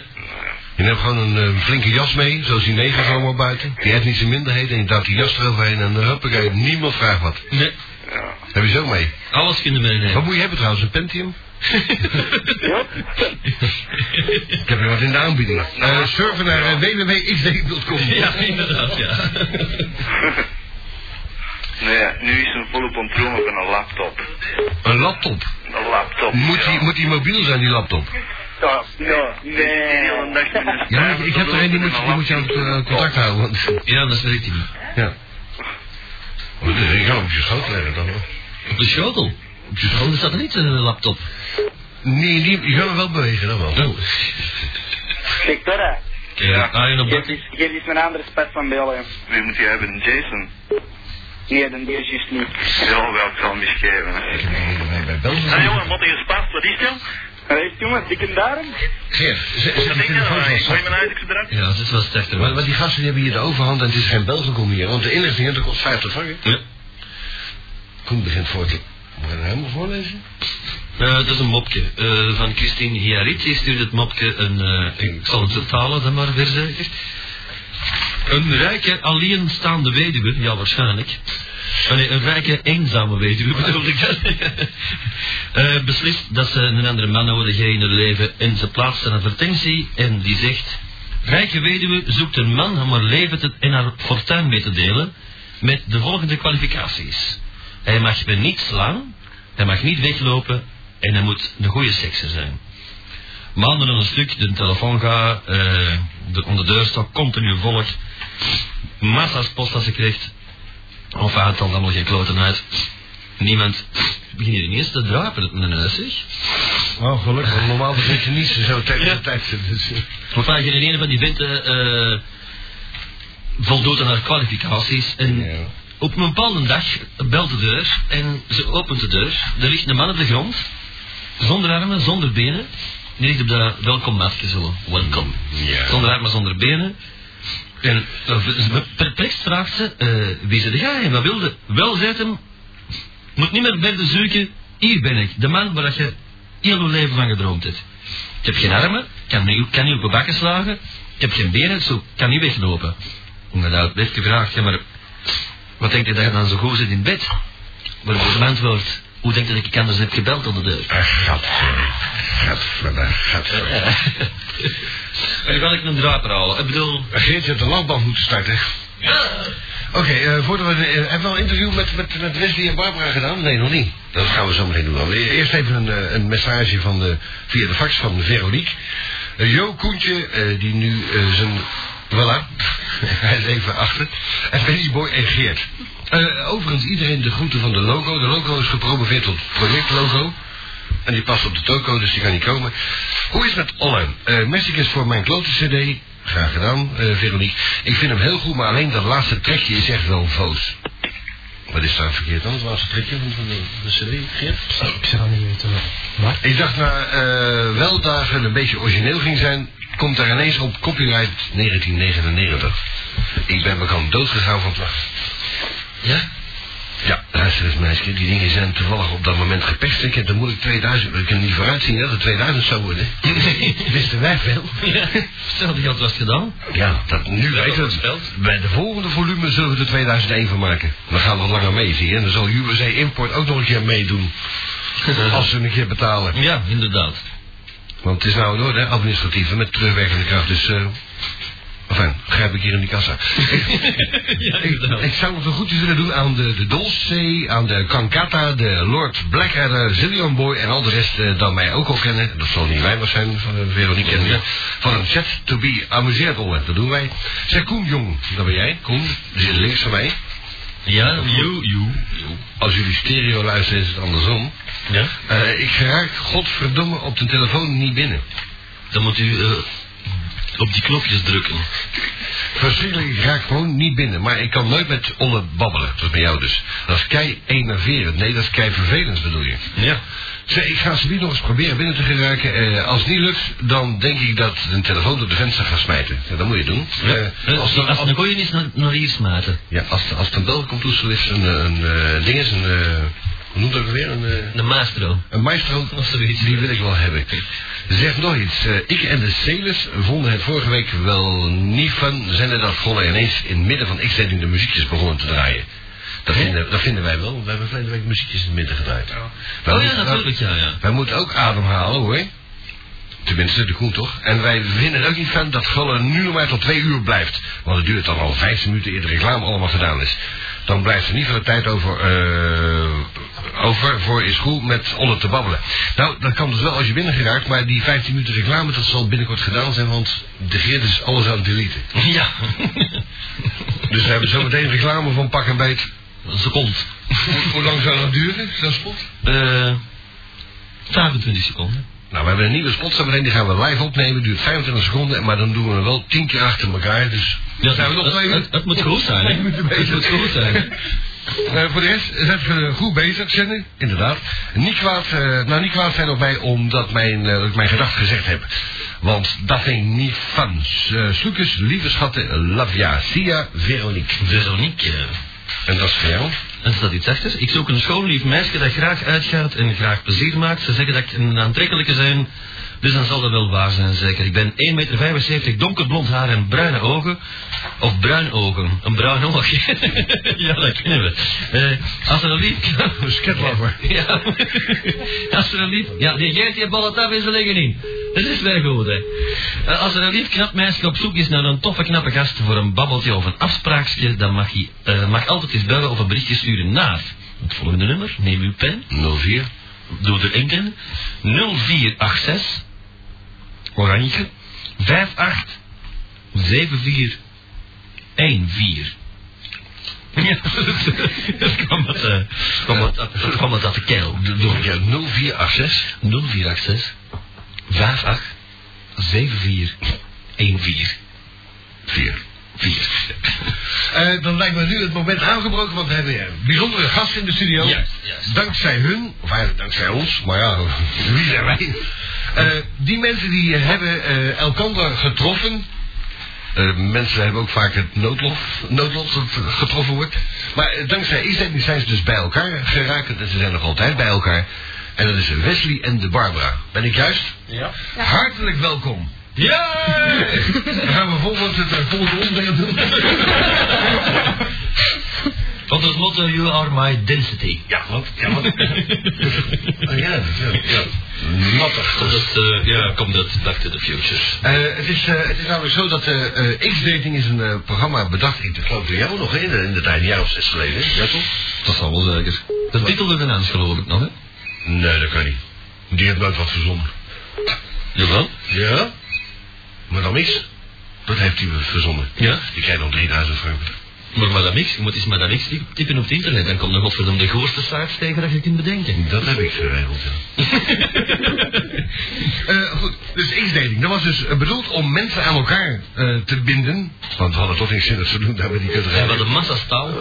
Speaker 1: Je neemt gewoon een eh, flinke jas mee, zoals die negers allemaal buiten. Die heeft niet zijn minderheden en je duwt die jas eroverheen en dan huppakee, niemand vraagt wat.
Speaker 2: Nee.
Speaker 4: Ja.
Speaker 1: Heb je zo mee.
Speaker 2: Alles kunnen meenemen.
Speaker 1: Wat moet je hebben trouwens, een Pentium? Ik heb er wat in de aanbieding. Eh surfen naar eh, www.xd.com.
Speaker 2: Ja, inderdaad, ja.
Speaker 4: Nee, Nou nu is een volop ontdrongen van een laptop.
Speaker 1: Een laptop.
Speaker 4: Een laptop.
Speaker 1: Moet
Speaker 4: ja.
Speaker 1: die, moet die mobiel zijn, die laptop?
Speaker 3: Ja, ja,
Speaker 4: Die zit hier de hele dag met een
Speaker 1: Ja, ik, ik heb er een, die moet, die moet je aan het eh, contact houden. Want,
Speaker 2: Ja, dat werkt hij niet.
Speaker 1: ja. Oh, Ik ga hem op je schoot leggen dan. hoor.
Speaker 2: Op de schotel. Op de schotel staat er niet een laptop. Oh.
Speaker 1: Nee, die, je gaat hem wel bewegen, dat wel.
Speaker 3: Kijk, door, hè.
Speaker 2: Ja. Ah, je op
Speaker 3: Geef
Speaker 2: dat
Speaker 3: eens- Geef eens mijn andere spet van bellen.
Speaker 4: Wie moet die hebben? Jason?
Speaker 3: Nee, dan die is juist niet.
Speaker 4: Ja, wel, ik zal hem eens geven. hè.
Speaker 1: Nee, nee, bij België.
Speaker 4: wat is gespast? Wat is dat?
Speaker 3: Allee, jongen, dikke daarom.
Speaker 1: Geert, zet zet die
Speaker 4: eh,
Speaker 1: telefoon vast.
Speaker 4: huis eruit?
Speaker 2: Ja, dit was het
Speaker 1: Maar,
Speaker 2: echter.
Speaker 1: maar die gasten die hebben hier de overhand en het is geen Belgicum hier. Want de inlichting dat kost 50 frank. hè?
Speaker 2: Ja.
Speaker 1: Koen begint voor te... Moet ik dat helemaal voorlezen?
Speaker 2: Eh, dat is een mopje. Eh, van Christine Hiarit. Die stuurt het mopje een... eh, ik zal het vertalen dan maar weer zeker. Een rijke alleenstaande weduwe. Ja, waarschijnlijk. Ah, Nee, een rijke eenzame weduwe bedoelde ik dat. Eh, beslist dat ze een andere man nodig heeft in haar leven. En ze plaatst een advertentie en die zegt... Rijke weduwe zoekt een man om haar leven te, en haar fortuin mee te delen. Met de volgende kwalificaties. Hij mag me niet slaan. Hij mag niet weglopen en hij moet een goede sekser zijn. maanden aan een stuk, de telefoon gaat, eh, de, om de deur staat, continu volk. Massa's post dat ze krijgt. Of het dan allemaal geen kloten uit. Niemand begint hier ineens te drapen op mijn huis, zeg. Nou,
Speaker 1: Oh, gelukkig. want Normaal begint je niet zo tegen
Speaker 2: Ja.
Speaker 1: de tijd. Dus, eh,
Speaker 2: Of geen ene van die venten eh voldoet aan haar kwalificaties. En
Speaker 1: Ja.
Speaker 2: op een bepaalde dag belt de deur en ze opent de deur. Er ligt een man op de grond, zonder armen, zonder benen. Die ligt op dat welkommatje zo, welkom.
Speaker 1: Ja.
Speaker 2: Zonder armen, zonder benen. En eh, ze- perplex vraagt ze, eh, wie ze jij en wat wilde? Wel, zegt hem, moet niet meer verder zoeken, hier ben ik, de man waar dat je heel je leven van gedroomd hebt. Ik heb geen armen, ik kan niet kan niet op mijn bakken slagen, ik heb geen benen, zo, ik kan niet weglopen. Inderdaad, werd gevraagd, ja maar, wat denk je dat je dan zo goed zit in bed? Waarop ze antwoordt, hoe denk je dat ik anders heb gebeld aan de deur?
Speaker 1: Ah, gadver. Gadver, gadver.
Speaker 2: En nu wil ik een draper halen, ik bedoel...
Speaker 1: Geert, je hebt de landbouw moeten starten. Oké, eh, voordat we... eh, hebben we al een interview met, met, met Wesley en Barbara gedaan? Nee, nog niet. Dat gaan we zo meteen doen. Maar Eerst even een, eh, een message van de, via de fax van Veronique. Eh, jo Koentje, eh, die nu eh, zijn... Voilà, hij is even achter. En Benny Boy en Geert. Eh, overigens, iedereen de groeten van de logo. De logo is gepromoveerd tot projectlogo. En die past op de toko, dus die kan niet komen. Hoe is het met Olle? Eh Mestic is voor mijn klote cd. Graag gedaan, eh Veronique. Ik vind hem heel goed, maar alleen dat laatste trekje is echt wel voos. Wat is daar verkeerd dan, het laatste trekje van de, de cd, Geert?
Speaker 5: Ik zou niet weten wat.
Speaker 1: Ik dacht na eh, weldagen een beetje origineel ging zijn, komt daar ineens op copyright 1999. Ik ben bekend doodgegaan van het lachen.
Speaker 2: Ja?
Speaker 1: Ja, luister eens meisje, die dingen zijn toevallig op dat moment gepest. Ik heb dan moet ik 2000, we kunnen niet vooruitzien dat het 2000 zou worden. Wisten wij veel.
Speaker 2: Ja, stel die had wat gedaan.
Speaker 1: Ja, dat nu
Speaker 2: Dat
Speaker 1: weten we
Speaker 2: is wel.
Speaker 1: Bij de volgende volume zullen we er 2001 van maken. Dan gaan we wat langer mee, zie je. En dan zal USA Import ook nog een keer meedoen.
Speaker 2: Uh-huh.
Speaker 1: Als ze een keer betalen.
Speaker 2: Ja, inderdaad.
Speaker 1: Want het is nou door, hè, administratieve, met terugwerkende kracht. Dus, eh enfin, grijp ik hier in die kassa.
Speaker 2: ja,
Speaker 1: Ik, ik zou nog een goedje willen doen aan de, de Dolce, aan de Kankata, de Lord Blackadder, Zillion Boy en al de rest eh, dan mij ook al kennen. Dat zal niet weinig zijn, van, eh, Veronique en eh, Van een set to be amuseerd onder. Dat doen wij. Zeg Koen Jong, dat ben jij. Koen, die zit links van mij.
Speaker 2: Ja, you, you, you.
Speaker 1: Als jullie stereo luisteren is het andersom.
Speaker 2: Ja?
Speaker 1: Eh, ik raak godverdomme op de telefoon niet binnen.
Speaker 2: Dan moet u eh, op die knopjes drukken.
Speaker 1: Verschrikkelijk, ik raak gewoon niet binnen. Maar ik kan nooit met Olle babbelen. Dat is bij jou dus. Dat is kei enerverend. Nee, dat is kei vervelend bedoel je.
Speaker 2: Ja.
Speaker 1: Zeg, ik ga ze nog eens proberen binnen te geraken. Eh, als het niet lukt, dan denk ik dat de telefoon door de venster gaat smijten. Ja, dat moet je doen. Eh,
Speaker 2: Nou, als,
Speaker 1: als, er-
Speaker 2: als
Speaker 1: als,
Speaker 2: een koeien is, naar, naar hier smaten.
Speaker 1: ja, als, als het een bel komt toestel is een, een eh, ding is, een... eh, hoe noemt dat ook weer? Een, eh,
Speaker 2: De maestro.
Speaker 1: een maestro,
Speaker 2: Of zoiets.
Speaker 1: die wil ik wel hebben. Zeg nog iets. eh, ik en de Celus vonden het vorige week wel niet van. Zijn er dat Golle ineens in het midden van X-Zending de muziekjes begonnen te draaien? Dat vinden, dat vinden wij wel. We hebben verleden week muziekjes in het midden gedraaid. Wij
Speaker 2: Oh ja,
Speaker 1: moeten-
Speaker 2: natuurlijk, ja, ja.
Speaker 1: Wij moeten ook ademhalen hoor. Tenminste, de koen toch? En wij vinden er ook niet van dat Golle nu nog maar tot twee uur blijft. Want het duurt dan al vijf minuten eer de reclame allemaal gedaan is. Dan blijft er niet veel tijd over, eh, over voor is goed met Olle te babbelen. Nou, dat kan dus wel als je binnen geraakt, maar die 15 minuten reclame, dat zal binnenkort gedaan zijn, want de Geert is alles aan het deleten.
Speaker 2: Ja.
Speaker 1: Dus we hebben zometeen reclame van pak en beet.
Speaker 2: Ze komt.
Speaker 1: Hoe, hoe lang zou dat duren, zo'n spot?
Speaker 2: Eh 25 seconden.
Speaker 1: Nou, we hebben een nieuwe spot zometeen, die gaan we live opnemen, duurt 25 seconden, maar dan doen we hem wel 10 keer achter elkaar, dus...
Speaker 2: Ja,
Speaker 1: zijn we nog
Speaker 2: het-
Speaker 1: twee
Speaker 2: het, het moet goed zijn,
Speaker 1: Twee
Speaker 2: hè?
Speaker 1: minuten
Speaker 2: Het
Speaker 1: bezig.
Speaker 2: moet goed zijn. hè?
Speaker 1: Eh, voor de rest zijn we goed bezig, Senne. Inderdaad. Niet kwaad, eh, nou, niet kwaad zijn op mij omdat mijn, eh, dat ik mijn gedachten gezegd heb. Want dat vind ik niet van. Uh, Sloekes, lieve schatten, Lavia, Sia, Veronique.
Speaker 2: Veronique. eh,
Speaker 1: En dat is voor jou?
Speaker 2: Er staat iets achter. Ik zoek een schoon lief meisje dat graag uitgaat en graag plezier maakt. Ze zeggen dat ik een aantrekkelijke zijn, dus dan zal dat wel waar zijn zeker. Ik ben 1,75 meter, donkerblond haar en bruine ogen. Of bruin ogen. Een bruin oog. ja, dat kennen we. Eh, als er een lief...
Speaker 1: Een skatlover.
Speaker 2: ja. als er een lief... Ja, die geeft die ballen daar in zijn liggen in. Dat is wel goed, hè. Eh, als er een lief knap meisje op zoek is naar een toffe knappe gast voor een babbeltje of een afspraakje, dan mag hij eh, mag altijd eens bellen of een berichtje sturen naar het volgende nummer. Neem uw pen,
Speaker 1: 04.
Speaker 2: doe er enkele. 0486 Oranje. 58 74 14. Ja, dat kwam het, eh, kwam het, dat kwam het uit de keel. Door
Speaker 1: Ja, 0486.
Speaker 2: 0486 58 74 14
Speaker 1: 4.
Speaker 2: 4.
Speaker 1: Eh, dan lijkt me nu het moment aangebroken, want we hebben een bijzondere gast in de studio.
Speaker 2: Juist, juist.
Speaker 1: Dankzij hun, of eigenlijk dankzij ons, maar ja, wie zijn wij? Eh, die mensen die eh, hebben eh elkander getroffen. Eh, mensen hebben ook vaak het noodlot, noodlot dat eh, getroffen wordt. Maar eh, dankzij Isdending zijn ze dus bij elkaar geraakt en ze zijn nog altijd bij elkaar. En dat is Wesley en de Barbara. Ben ik juist?
Speaker 2: Ja.
Speaker 1: Hartelijk welkom.
Speaker 2: Ja!
Speaker 1: Dan gaan we volgens het eh, volgende onderdeel doen.
Speaker 2: Want het motto, you are my density.
Speaker 1: Ja, wat? Ja, wat? Oh, ja, ja, ja. Mattig.
Speaker 2: Komt dat, eh, ja, komt dat Back to the Future.
Speaker 1: Eh, het, is, eh, het is namelijk zo dat eh eh, X-Dating is een eh, programma bedacht, ik geloof door jou nog, hè, in de, in de tijd, een jaar of zes geleden. hè? Ja, toch?
Speaker 2: Dat zal wel zeker. De titel er aan geloof ik nog, hè?
Speaker 1: Nee, dat kan niet. Die heeft nooit wat verzonnen.
Speaker 2: Jawel.
Speaker 1: Ja? Maar dan is, dat heeft hij verzonnen.
Speaker 2: Ja.
Speaker 1: Die krijgt nog 3000 frank.
Speaker 2: Maar Madame X, je moet eens Madame X typen op het internet. Dan komt er godverdomme de goorste sites tegen dat je kunt bedenken.
Speaker 1: Dat heb ik geregeld, ja. Eh, goed, dus X-dating. Dat was dus eh, bedoeld om mensen aan elkaar eh, te binden. Want we hadden toch niks zin dat ze doen, daar hebben we die
Speaker 2: Ja, wat
Speaker 1: kunnen
Speaker 2: een massa's taal.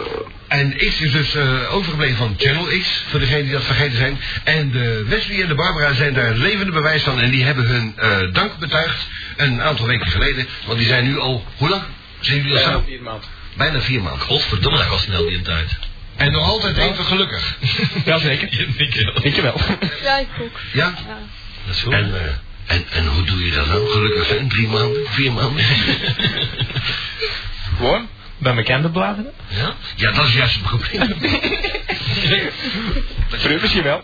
Speaker 1: En X is dus eh, overgebleven van Channel X, voor degenen die dat vergeten zijn. En de Wesley en de Barbara zijn daar levende bewijs van. En die hebben hun eh, dank betuigd een aantal weken geleden. Want die zijn nu al, hoe lang? Zijn jullie al samen? Bijna vier maanden. Bijna vier maanden.
Speaker 2: Godverdomme, dat was snel die tijd.
Speaker 1: En nog altijd even gelukkig.
Speaker 5: Jazeker.
Speaker 2: Dankjewel.
Speaker 5: Ik wel.
Speaker 7: Ja, ik ook.
Speaker 1: Ja?
Speaker 2: Dat is goed.
Speaker 1: En, eh, en, en hoe doe je dat nou? Gelukkig zijn drie maanden, vier maanden.
Speaker 5: Gewoon? Bij mijn kinderen blijven?
Speaker 1: Ja? Ja, dat is juist het probleem.
Speaker 5: Voor u misschien wel.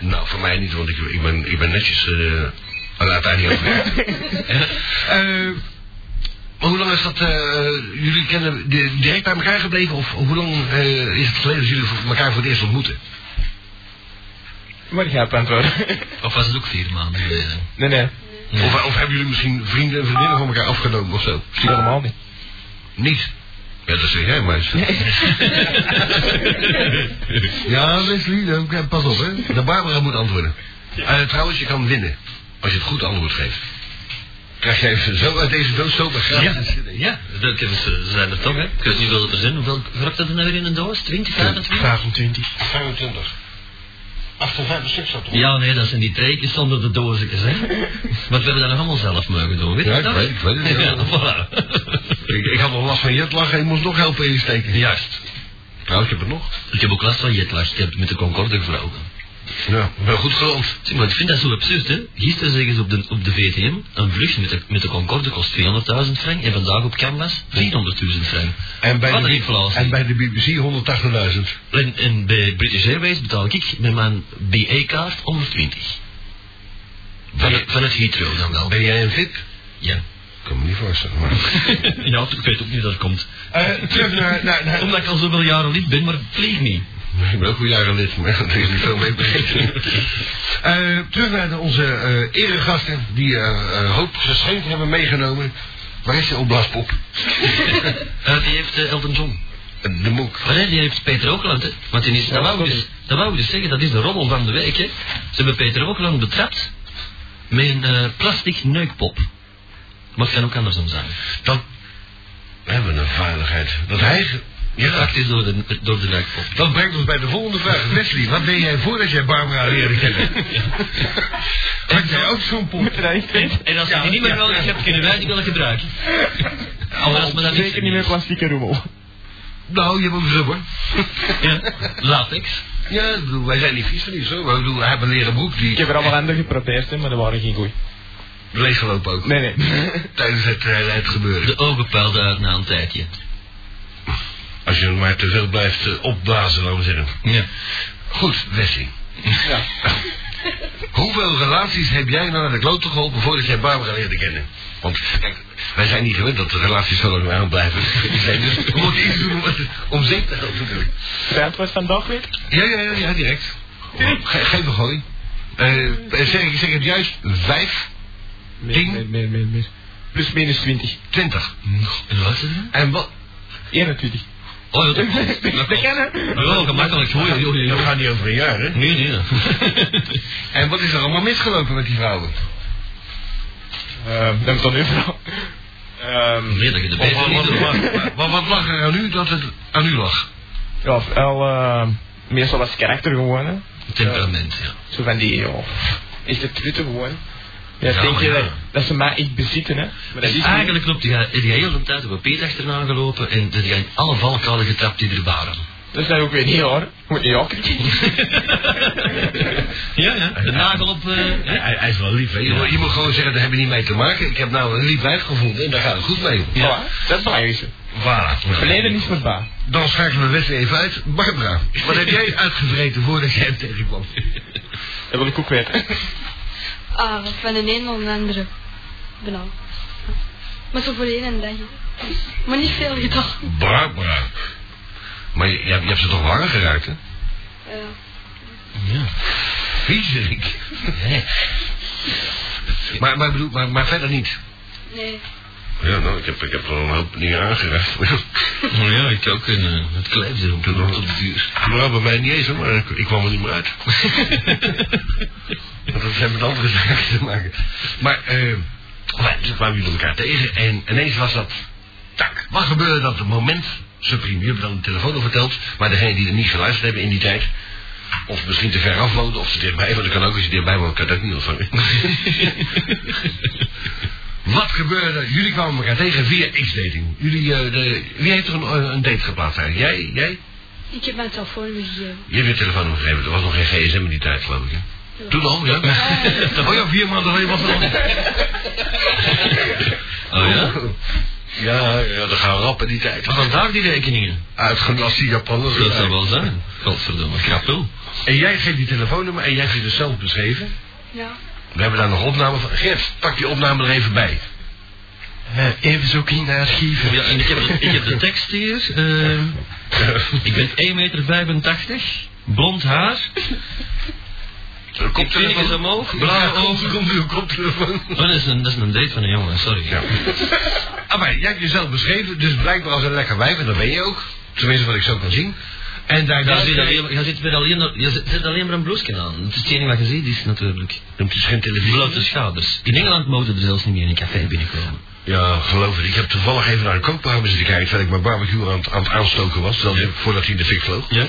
Speaker 1: Nou, voor mij niet, want ik, ik, ben, ik ben netjes. eh, maar laat daar niet over. Eh, maar hoe lang is dat? eh, jullie kennen di- direct bij elkaar gebleven? Of hoe lang eh, is het geleden dat jullie voor- elkaar voor het eerst ontmoeten?
Speaker 5: Maar ik ga op antwoorden.
Speaker 2: Of was het ook vier maanden geleden?
Speaker 5: Nee, nee.
Speaker 2: Ja.
Speaker 1: Of, of hebben jullie misschien vrienden en vriendinnen van elkaar afgenomen of zo?
Speaker 2: Ah.
Speaker 5: Helemaal niet.
Speaker 1: Niet. Ja, dat zeg jij maar. ja, Leslie, dan- ja, pas op hè. De Barbara moet antwoorden. Eh, trouwens, je kan winnen. Als je het goed antwoord geeft. Krijg jij even zo uit deze doos zo gratis.
Speaker 2: Ja, dat hebben eh, ze- ze zijn er toch, hè? Ik weet niet hoeveel er zijn. Hoeveel grap dat er nou weer in een doos? 20, 25?
Speaker 5: 25.
Speaker 1: 25. 58 stuk zat
Speaker 2: Ja, nee, dat zijn die treetjes zonder de doosjes, hè? Want we hebben dat nog allemaal zelf mogen doen, weet je
Speaker 1: Ja, ik
Speaker 2: dat?
Speaker 1: weet- ik weet het, ja.
Speaker 2: Ja, voilà.
Speaker 1: Ik, ik had nog last van jetlag en ik moest nog helpen insteken.
Speaker 2: Juist.
Speaker 1: Trouwens, ik heb het nog.
Speaker 2: Ik heb ook last van jetlag. Ik heb met de Concorde gevlogen.
Speaker 1: Ja, ik ben goed geland.
Speaker 2: Zeg, maar ik vind dat zo absurd, hè? Gisteren zeggen ze op de, op de VTM, een vlucht met de, met de Concorde kost 200.000 frank en vandaag op Canvas 400.000 frank.
Speaker 1: En bij,
Speaker 2: Wat een
Speaker 1: de,
Speaker 2: inflatie.
Speaker 1: en bij de BBC 180.000.
Speaker 2: En, en bij British Airways betaal ik met mijn BE-kaart 120. Van het, van het Heathrow dan wel.
Speaker 1: Ben jij een VIP?
Speaker 2: Ja.
Speaker 1: Ik kan me niet voorstellen. Maar...
Speaker 2: ja, ik weet ook niet hoe dat komt.
Speaker 1: Eh, terug naar... naar, naar...
Speaker 2: Omdat ik al zoveel jaren lid ben, maar ik vlieg niet.
Speaker 1: Ik ben ook een jaren lid, maar daar is niet veel mee bezig. Eh, terug naar de- onze eh eregasten die eh eh, hoop geschenk hebben meegenomen. Waar is de opblaaspop?
Speaker 2: Eh, die heeft eh, Elton John.
Speaker 1: Eh, De monk.
Speaker 2: Maar nee, die heeft Peter Ookland, hè. Want die is, dat, wou ik dus, dat wou ik dus zeggen, dat is de rommel van de week, hè. Ze hebben Peter Ookland betrapt met een eh, plastic neukpop. Maar het kan ook andersom zijn.
Speaker 1: Dat... We hebben een veiligheid. Dat hij... Ja,
Speaker 2: Geraakt is door de, door de neukpop.
Speaker 1: Dat brengt ons bij de volgende vraag. Wesley, wat deed jij voordat jij Barbara leerde kennen? Had jij ook zo'n pomp?
Speaker 2: En als je die niet meer nodig hebt, kunnen wij die willen gebruiken. Maar als me dat
Speaker 5: Zeker niet meer plastieke rommel.
Speaker 1: Nou, je hebt ook rubber.
Speaker 2: Ja, latex.
Speaker 1: Ja, ik bedoel, wij zijn niet vies van iets hoor. Ik bedoel, we hebben een leren broek
Speaker 5: Ik
Speaker 1: die
Speaker 5: heb er allemaal aan geprobeerd, hè, maar dat waren geen goeie.
Speaker 1: leeggelopen ook.
Speaker 5: Nee, nee.
Speaker 1: Tijdens het, eh, het gebeuren.
Speaker 2: De ogen puilden uit na een tijdje.
Speaker 1: Als je er maar te veel blijft eh, opblazen, laten we zeggen.
Speaker 2: Ja.
Speaker 1: Goed, Wesley. Hoeveel relaties heb jij nou naar de klote geholpen voordat jij Barbara leerde kennen? Want kijk, wij zijn niet gewend dat de relaties zo lang aanblijven. Die zijn dus, we moeten iets doen om, om zeep te helpen natuurlijk.
Speaker 5: Het antwoord vandaag weer?
Speaker 1: Ja, ja, ja, ja, eh, direct. Ge geef een gooi. Eh, zeg, ik zeg het juist, vijf.
Speaker 5: Meer,
Speaker 2: Ding.
Speaker 5: meer, meer, meer, meer. Plus minus 20.
Speaker 1: 20.
Speaker 2: En wat is dat?
Speaker 1: En wat?
Speaker 5: 21.
Speaker 2: Oh ja, dat klopt. Dat klopt. Ja, gemakkelijk. Hoor, joh, joh,
Speaker 1: Dat
Speaker 2: joh.
Speaker 1: gaat niet over een jaar, hè?
Speaker 2: Nee, nee.
Speaker 1: En wat is er allemaal misgelopen met die vrouwen?
Speaker 5: Ehm, dat is dan overal. Ehm,
Speaker 2: Nee, dat je de
Speaker 1: Of
Speaker 2: beter
Speaker 1: wat-
Speaker 2: niet
Speaker 1: wat,
Speaker 2: doet, maar-
Speaker 1: wat, wat, wat lag er aan u dat het aan u lag?
Speaker 5: ja, vooral ehm, meestal als karakter gewoon. Hè.
Speaker 2: Temperament, ja.
Speaker 5: Zo van die, ja, echte trutten gewoon. Ja,
Speaker 2: Ja,
Speaker 5: denk je
Speaker 2: maar ja.
Speaker 5: dat, dat ze mij echt bezitten, hè? Maar dat
Speaker 2: Dus
Speaker 5: is
Speaker 2: eigenlijk loopt hij,
Speaker 1: eh,
Speaker 2: heb jij heel de tijd op een peet achterna gelopen en dat jij in alle valkuilen getrapt die er waren.
Speaker 5: niet. Dat is dan ook weer niet hoor. Moet je ook
Speaker 2: Ja, ja. De nagel op... eh, hè?
Speaker 1: Hij, hij is wel lief, hè? Je,
Speaker 2: Ja.
Speaker 1: moet- je moet gewoon zeggen, daar heb je niet mee te maken. Ik heb nou een lief wijf gevonden en daar gaat het goed mee.
Speaker 5: Ja. Dat is belangrijk.
Speaker 1: Voilà.
Speaker 5: Verleden is met baar.
Speaker 1: Dan schakelen we Wesley even uit. Barbara, wat heb jij uitgevreten voordat jij hem tegenkwam?
Speaker 5: Dat wil ik ook weten.
Speaker 7: Ah, van de een naar de andere. Benauw. Maar zo voor één dag. Maar niet veel gedaan.
Speaker 1: Barbara. Maar je, je hebt- je hebt ze toch warm geraakt, hè?
Speaker 7: Ja.
Speaker 2: Ja.
Speaker 1: Viezerik. maar, maar, bedoel, maar, maar verder niet.
Speaker 7: Nee.
Speaker 1: Ja, nou, ik heb, ik heb er een hoop dingen aangeraakt.
Speaker 2: Oh ja, ik ook. En, eh, het kleeft erop toen op de duur.
Speaker 1: Nou, bij mij niet eens, hoor, maar ik, ik kwam er niet meer uit. Want dat heeft met andere zaken te maken. Maar, eh, enfin, toen kwamen jullie elkaar tegen en ineens was dat... Tak, wat gebeurde dat op het moment? Supreme, je hebt dan de telefoon al verteld. Maar degene die er niet geluisterd hebben in die tijd... Of misschien te ver af wonen, of te dichtbij. Want dat kan ook, als je dichtbij woont, kan dat ook niet ontvangen. Wat gebeurde? Eh, Jullie kwamen elkaar tegen via X-dating. Jullie, eh, de, wie heeft er een, eh, een date geplaatst eigenlijk? Jij? Jij?
Speaker 7: Ik heb mijn telefoon eh. gegeven.
Speaker 1: Je hebt je telefoonnummer gegeven. Er was nog geen gsm in die tijd, geloof ik. Hè? Toen al, ja. Oh ja, vier maanden geleden was dat al.
Speaker 2: Oh ja?
Speaker 1: Ja, ja, dat gaan we rap in die tijd.
Speaker 2: Maar vandaar die rekeningen.
Speaker 1: Uitgelaste Japanners.
Speaker 2: Dat zou wel zijn. Godverdomme, knap wel.
Speaker 1: En jij geeft die telefoonnummer en jij hebt je dus zelf beschreven.
Speaker 7: Ja.
Speaker 1: We hebben daar nog opname van. Gert, pak die opname er even bij. Eh,
Speaker 5: even zoeken in de archieven.
Speaker 2: Ja, en ik heb, ik heb de tekst hier. eh, ik ben 1,85 meter, 85, blond haar, koptelefoon
Speaker 1: eh,
Speaker 2: is omhoog, blauwe ogen.
Speaker 1: komt oh, uw koptelefoon.
Speaker 2: Oh, dat, is een, dat is een date van een jongen, sorry.
Speaker 1: Ja. Ah, maar jij hebt jezelf beschreven, dus blijkbaar als een lekker wijf, en dat ben je ook. Tenminste, wat ik zo kan zien. En daar
Speaker 2: Jij
Speaker 1: dacht
Speaker 2: zit,
Speaker 1: jij-
Speaker 2: alleen, jij zit met alleen, jij zit- zit alleen maar een bloesje aan. Het is het enige wat je ziet, is natuurlijk.
Speaker 1: Het is geen televisie.
Speaker 2: Blote schouders. In Engeland mogen er zelfs niet meer in een café binnenkomen.
Speaker 1: Ja, geloof het. Ik heb toevallig even naar de kookprogramma zitten kijken... terwijl ik mijn barbecue aan, het- aan het aanstoken was... terwijl die- voordat hij in de fik vloog.
Speaker 2: Ja?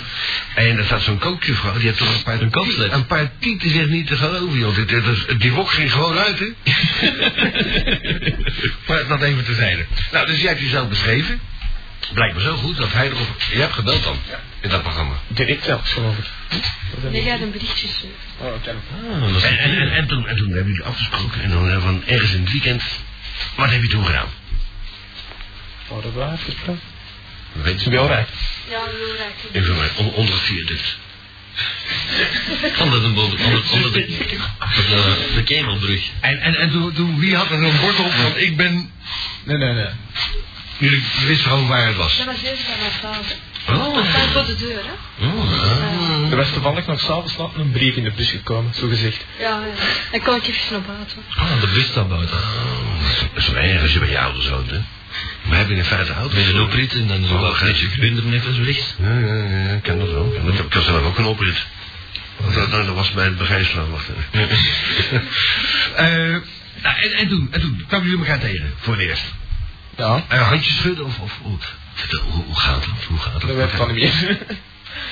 Speaker 1: En daar staat zo'n kookjuffrouw... die heeft toch een paar...
Speaker 2: Een kookslip.
Speaker 1: Een paar tieten zich niet te geloven, joh. Dit, dit is- die wok ging gewoon uit, hè? maar dat even terzijde. Nou, dus jij hebt jezelf beschreven. Blijkbaar zo goed dat hij erop... Je hebt gebeld dan, in dat programma.
Speaker 5: Direct zelfs, geloof ik.
Speaker 7: Nee, gaat een berichtje sturen.
Speaker 5: Oh, dat kan ook.
Speaker 2: Ah, dat is
Speaker 1: En, en, en, en toen, en toen hebben jullie afgesproken... en dan eh, van ergens in het weekend... Wat heb je toen gedaan?
Speaker 5: Oh, dat was verteld.
Speaker 1: Weet je
Speaker 5: Wel raak.
Speaker 7: Ja, heel raak.
Speaker 1: Even mij, on- onder het viaduct.
Speaker 2: dus. Onder de boven, onder, onder de, onder de, de Kemelbrug.
Speaker 1: En, en, en toen, toen, wie had er een bord op? Want ik ben...
Speaker 5: Nee, nee, nee.
Speaker 1: Jullie wisten gewoon waar het was.
Speaker 7: Dat was deze van mijn vader.
Speaker 2: Oh.
Speaker 7: Dat staat voor de deur, hè?
Speaker 5: Er was toevallig nog s'avonds laat een brief in de bus gekomen, zo gezegd.
Speaker 7: Ja, ja. Dan kan ik even naar buiten.
Speaker 1: Oh,
Speaker 2: Ah, de bus staat buiten.
Speaker 1: Dat is wel erg Oh, als je bij je ouders woont, hè? Maar heb je in feite ouders?
Speaker 2: Met een oprit en dan zo
Speaker 1: Oh,
Speaker 2: wel
Speaker 1: gek.
Speaker 2: je kunt er net als rechts.
Speaker 1: Ja, ja, ja, ik ken dat wel. Ik heb, ik had zelf ook een oprit. Dat, dat, dat was bij het Begijslaan, wacht even. Eh, nou, en, en toen, en toen kwamen jullie elkaar tegen, voor het eerst.
Speaker 5: Ja.
Speaker 1: Eh, handjes schudden of... of hoe- vertel, hoe, hoe gaat dat? Hoe gaat
Speaker 5: Dat werd
Speaker 1: dat?
Speaker 5: van hem meer.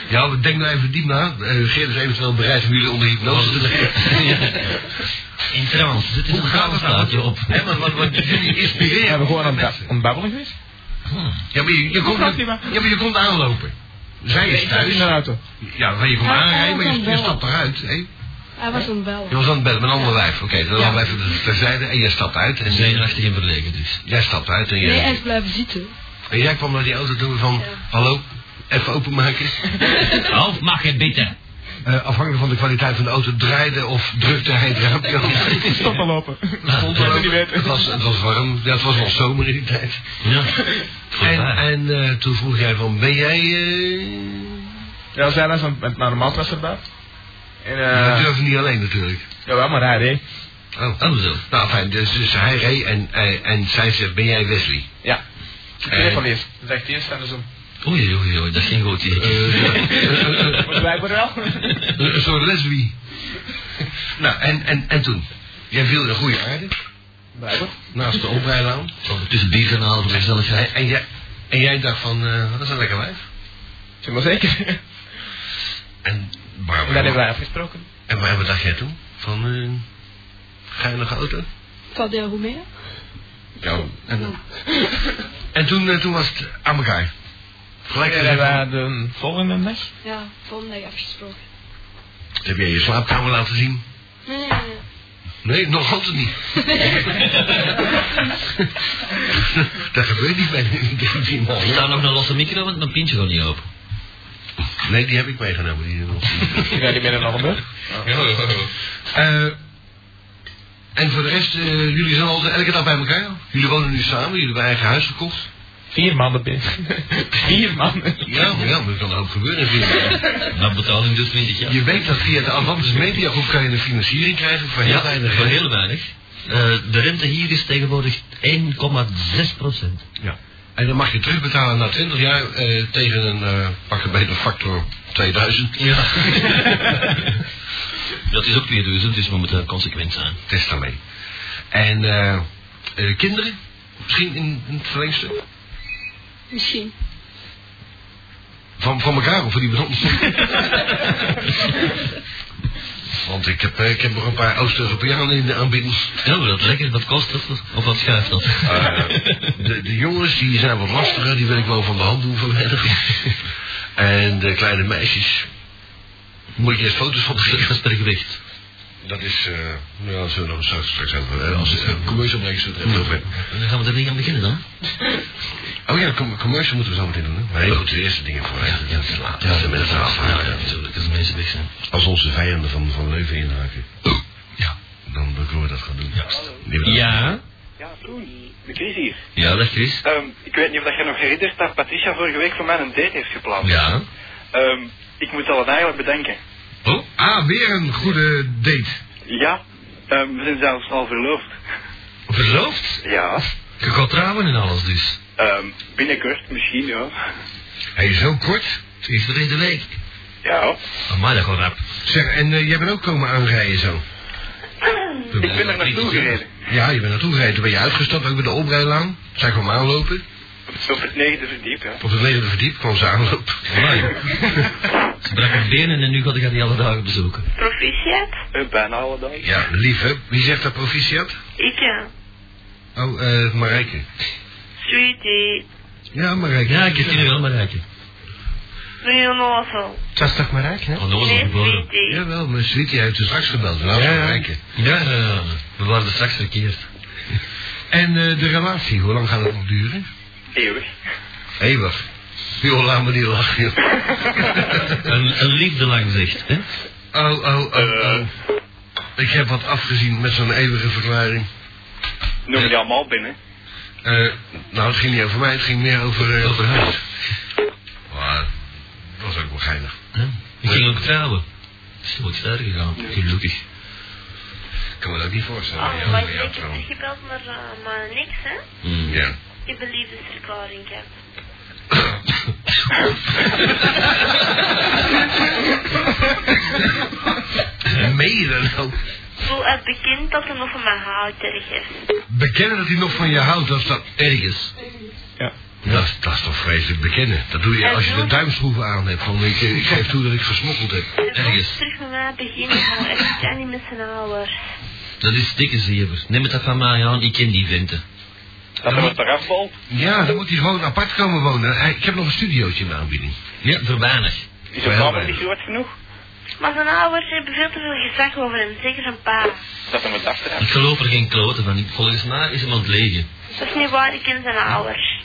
Speaker 1: Ja, we denk nou even diep na. Eh Geert is eventueel bereid om jullie onder hypnose te leggen.
Speaker 2: In trance, dit is
Speaker 1: Hoe
Speaker 2: een
Speaker 1: gaat het
Speaker 2: trance-plaatje
Speaker 1: nou?
Speaker 2: op.
Speaker 1: Hè, want, want, want jullie
Speaker 5: We
Speaker 1: inspireren.
Speaker 5: hebben gewoon aan het bab- aan het babbelen geweest.
Speaker 1: Ja, maar je, je, komt,
Speaker 5: snap niet meer.
Speaker 1: ja, maar je komt aanlopen. Zij is
Speaker 5: Ik zat in de
Speaker 1: thuis.
Speaker 5: auto.
Speaker 1: Ja, maar je komt
Speaker 7: Ja,
Speaker 1: aanrijden, maar
Speaker 7: hij was
Speaker 1: je,
Speaker 7: aan
Speaker 1: je
Speaker 7: het
Speaker 1: stapt eruit. Hè?
Speaker 7: Hij was aan het
Speaker 1: Je
Speaker 7: bellen.
Speaker 1: was aan het bellen met een ander wijf. Oké, dan gaan we even terzijde en je stapt uit. En
Speaker 2: Zenuwachtig en verlegen dus.
Speaker 1: jij stapt uit en, je,
Speaker 7: Nee, hij is blijven zitten.
Speaker 1: en jij kwam naar die auto toe van... Hallo, even openmaken.
Speaker 2: Half mag je bitten.
Speaker 1: Eh, afhankelijk van de kwaliteit van de auto draaide of drukte hij het raampje open.
Speaker 5: Stoppen lopen.
Speaker 1: Stond er
Speaker 5: dat wil
Speaker 1: ook.
Speaker 5: ik niet weten.
Speaker 1: Het was, het was warm. Ja, het was nog zomer in die tijd.
Speaker 2: Ja.
Speaker 1: En,
Speaker 2: Voorbij.
Speaker 1: en eh, toen vroeg jij van, ben jij... eh,
Speaker 5: Ja, zij was aan- met mijn maat was erbij. En
Speaker 1: Dat
Speaker 5: eh...
Speaker 1: durfde niet alleen natuurlijk.
Speaker 5: Jawel, maar hij reed.
Speaker 1: Oh.
Speaker 2: Oh, zo.
Speaker 1: Nou, fijn. Dus, dus hij reed en, eh, en zij zegt, ben jij Wesley?
Speaker 5: Ja. Ik
Speaker 1: Eh.
Speaker 5: weet van eerst. Dat is echt eerst en dus om.
Speaker 2: Oei, oei, oei, dat is geen goed idee.
Speaker 5: Maar wij worden wel.
Speaker 1: Eh, Zo'n lesbi. nou, en, en, en toen? Jij viel in goede aarde,
Speaker 5: Blijkbaar.
Speaker 1: naast de oprijlaan.
Speaker 2: Tussen bier gaan halen voor gezelligheid.
Speaker 1: En, en, jij, en jij dacht van, eh, dat is een lekker wijf.
Speaker 5: Zeg maar zeker. En
Speaker 1: En
Speaker 5: dat
Speaker 1: Barbara,
Speaker 5: hebben wij afgesproken.
Speaker 1: en Barbara, wat dacht jij toen? Van, eh geinige auto?
Speaker 7: Valt heel goed mee, hè?
Speaker 1: Ja. En, en toen, eh, toen was het aan elkaar. Gelijk eh,
Speaker 5: En
Speaker 1: gezegd,
Speaker 5: wij de volgende dag.
Speaker 7: Ja, volgende dag afgesproken.
Speaker 1: heb jij je slaapkamer laten zien?
Speaker 7: Nee, nee, nee.
Speaker 1: Nee, nog altijd niet. dat gebeurt niet bij die- die man.
Speaker 2: Er staat nog een losse micro, want mijn pintje gaat niet open.
Speaker 1: Nee, die heb ik meegenomen. Die
Speaker 5: Ik ben niet meer nog gebeurd.
Speaker 1: Eh, en voor de rest, eh, jullie zijn altijd elke dag bij elkaar. Jullie wonen nu samen, jullie hebben eigen huis gekocht.
Speaker 5: Vier maanden binnen. Vier maanden.
Speaker 1: Ja, maar ja, maar dat kan ook gebeuren. in Finland.
Speaker 2: Dat betaling dus 20 jaar.
Speaker 1: Je weet dat via de Atlantis Media Groep kan je een financiering krijgen voor heel
Speaker 2: Ja,
Speaker 1: weinig
Speaker 2: voor
Speaker 1: geld.
Speaker 2: heel weinig. Eh, de rente hier is tegenwoordig 1,6 procent.
Speaker 1: Ja. En dan mag je terugbetalen na 20 jaar eh, tegen een eh pak een beter factor 2000.
Speaker 2: Ja. dat is ook 2000, dus we moeten consequent zijn.
Speaker 1: Testament. En eh, eh, kinderen? Misschien in, in het verlengste?
Speaker 7: Misschien.
Speaker 1: Van, van elkaar of van die bron? Want ik heb, eh, ik heb nog een paar Oost-Europeanen in de aanbieding.
Speaker 2: Ja, maar dat is lekker. Wat kost dat? Of wat schuift dat?
Speaker 1: Eh, de, de jongens die zijn wat lastiger, die wil ik wel van de hand doen verder. en de kleine meisjes. Moet je eens foto's van
Speaker 2: dat
Speaker 1: beginnen?
Speaker 2: is per gewicht.
Speaker 1: Dat is, eh, nou ja, dat zullen we nog straks straks hebben. eh, Als eh, commercial brengen ze het even over.
Speaker 2: En dan gaan we er niet aan beginnen dan.
Speaker 1: Oh ja, com- commercial moeten we zo meteen doen. Hè? Maar heel goed, de eerste dingen voor. hè.
Speaker 2: dat is laat.
Speaker 1: Ja, dat is met het verhaal van, ja,
Speaker 2: Ja,
Speaker 1: ja.
Speaker 2: natuurlijk. Als de mensen weg zijn.
Speaker 1: Als onze vijanden van, van Leuven inhaken,
Speaker 2: Ja.
Speaker 1: dan dan kunnen we dat gaan doen.
Speaker 2: Juist.
Speaker 1: Die hebben-
Speaker 2: Ja.
Speaker 3: Ja, toen. De Chris hier.
Speaker 2: Ja, dat is.
Speaker 4: Ehm, ik weet niet of dat je nog herinnert dat Patricia vorige week voor mij een date heeft gepland.
Speaker 2: Ja.
Speaker 4: Ehm, ik moet dat eigenlijk bedenken.
Speaker 1: Oh, ah, weer een goede date.
Speaker 4: Ja, ehm, we zijn zelfs al verloofd.
Speaker 2: Verloofd?
Speaker 4: Ja,
Speaker 2: Je gaat trouwen en alles dus.
Speaker 4: ehm, binnenkort misschien, ja.
Speaker 1: Hij is zo kort.
Speaker 2: Het is verleden week.
Speaker 4: Ja,
Speaker 2: Amai, dat gaat rap.
Speaker 1: Zeg, en eh, jij bent ook komen aanrijden zo.
Speaker 4: ik ben er naartoe gereden.
Speaker 1: Ja, je bent naartoe gereden. Toen ben je uitgestapt, ook bij de oprijlaan. Zij kwam aanlopen.
Speaker 4: Op het negende verdiep, ja.
Speaker 1: Op het negende verdiep kwam ze aanlopen.
Speaker 2: Amai. Ze brak haar benen en nu ga ik haar die alle dagen bezoeken.
Speaker 6: Proficiat?
Speaker 4: Eh, bijna alle dagen.
Speaker 1: Ja, lief hè. Wie zegt dat proficiat?
Speaker 6: Ik, ja.
Speaker 1: Oh, eh, Marijke.
Speaker 6: Sweetie.
Speaker 1: Ja, Marijke.
Speaker 2: Ja, ik heb die nu wel, Marijke.
Speaker 6: Doe onnozel.
Speaker 5: Het was toch maar raak, hè?
Speaker 2: Hallo,
Speaker 6: Nee,
Speaker 2: geboren.
Speaker 6: sweetie.
Speaker 1: Jawel, mijn sweetie heeft er straks gebeld. Nou,
Speaker 5: Ja, ja.
Speaker 1: Marijke.
Speaker 2: Ja, ja, ja. we waren er straks verkeerd.
Speaker 1: En eh, de relatie, hoe lang gaat het nog duren?
Speaker 4: Eeuwig.
Speaker 1: Eeuwig. Joh, laat me niet lachen, joh.
Speaker 2: Een, een liefde lang zegt, hè?
Speaker 1: Oh, oh, oh, oh. Ik heb wat afgezien met zo'n eeuwige verklaring.
Speaker 4: Noem die allemaal binnen.
Speaker 1: Eh, nou, het ging niet over mij, het ging meer over, eh, over haar. Maar, dat was ook wel geinig.
Speaker 2: Ja. Ik ging ook trouwen. Het is nooit verder gegaan, gelukkig.
Speaker 1: Ik kan me dat niet voorstellen.
Speaker 6: Oh,
Speaker 1: ja,
Speaker 6: maar
Speaker 1: bij
Speaker 6: ik
Speaker 1: jou
Speaker 6: heb
Speaker 1: trouwens.
Speaker 6: niet gebeld, maar, eh, maar niks, hè?
Speaker 2: Mm.
Speaker 1: Ja.
Speaker 6: Ik heb een liefdesverklaring gehad.
Speaker 1: Meen je dat nou?
Speaker 6: Ik voel het bekend dat er nog van mij houdt ergens.
Speaker 1: Bekennen dat hij nog van je houdt, dat is dat erg is.
Speaker 5: Ja.
Speaker 1: Dat, is- dat is toch vreselijk bekennen. Dat doe je
Speaker 6: En
Speaker 1: als je de
Speaker 6: doen?
Speaker 1: duimschroeven aan hebt. Van, ik, ik geef toe dat ik versmokkeld heb.
Speaker 6: Dus
Speaker 2: Ergens.
Speaker 6: moet terug met mij beginnen, maar ik kan niet met z'n ouders.
Speaker 2: Dat is dikke zever. Neem het dat van mij aan, ik ken die venten.
Speaker 4: Dat er wat eraf valt.
Speaker 1: Ja, dan moet hij gewoon apart komen wonen. Hij- Ik heb nog een studiootje in de aanbieding.
Speaker 2: Ja, voor weinig.
Speaker 4: Is
Speaker 1: Wel,
Speaker 4: het kamer
Speaker 1: wel.
Speaker 4: niet groot genoeg?
Speaker 6: Maar zijn ouders hebben veel te veel gezag over hem, zeker zijn pa.
Speaker 4: Dat er wat achteraf.
Speaker 2: Ik geloof er geen kloten van. Ik- Volgens mij is hem aan het legen.
Speaker 6: Dat is niet waar, ik ken zijn ouders.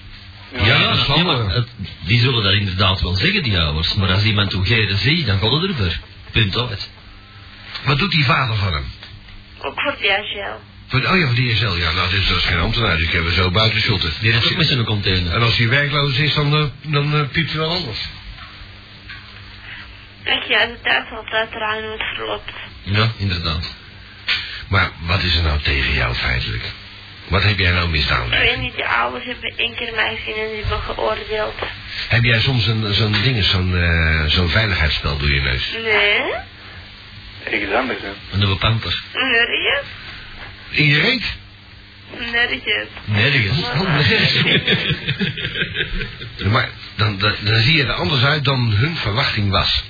Speaker 1: Ja, dat zal
Speaker 2: maar
Speaker 1: wel.
Speaker 2: het- die zullen dat inderdaad wel zeggen, die ouders. Maar als iemand toegeren zie, dan gaat het ervoor. Punt uit.
Speaker 1: Wat doet die vader van hem?
Speaker 6: Ook voor de AGL.
Speaker 1: Van, oh ja, van die DSL. Ja, nou, dit is, dat is geen ambtenaar, dus hebben we zo buiten shotten.
Speaker 2: Die heeft ook met zijn container.
Speaker 1: En als hij werkloos is, dan, eh, dan eh, piept hij wel anders.
Speaker 6: Echt ja, de tijd zal het uiteraard nooit verloopt.
Speaker 2: Ja, inderdaad.
Speaker 1: Maar wat is er nou tegen jou feitelijk? Wat heb jij nou misdaan?
Speaker 6: Ik weet niet, de ouders hebben één keer mij gezien en die hebben geoordeeld.
Speaker 1: Heb jij soms een- zo'n ding, zo'n eh, zo'n veiligheidsspel door je neus?
Speaker 6: Nee,
Speaker 4: Ik dan dus, hè.
Speaker 2: Een nieuwe panter.
Speaker 6: nergens,
Speaker 1: In je reet?
Speaker 6: nergens.
Speaker 2: Nergens.
Speaker 1: Oh, Maar dan, dan, dan zie je er anders uit dan hun verwachting was.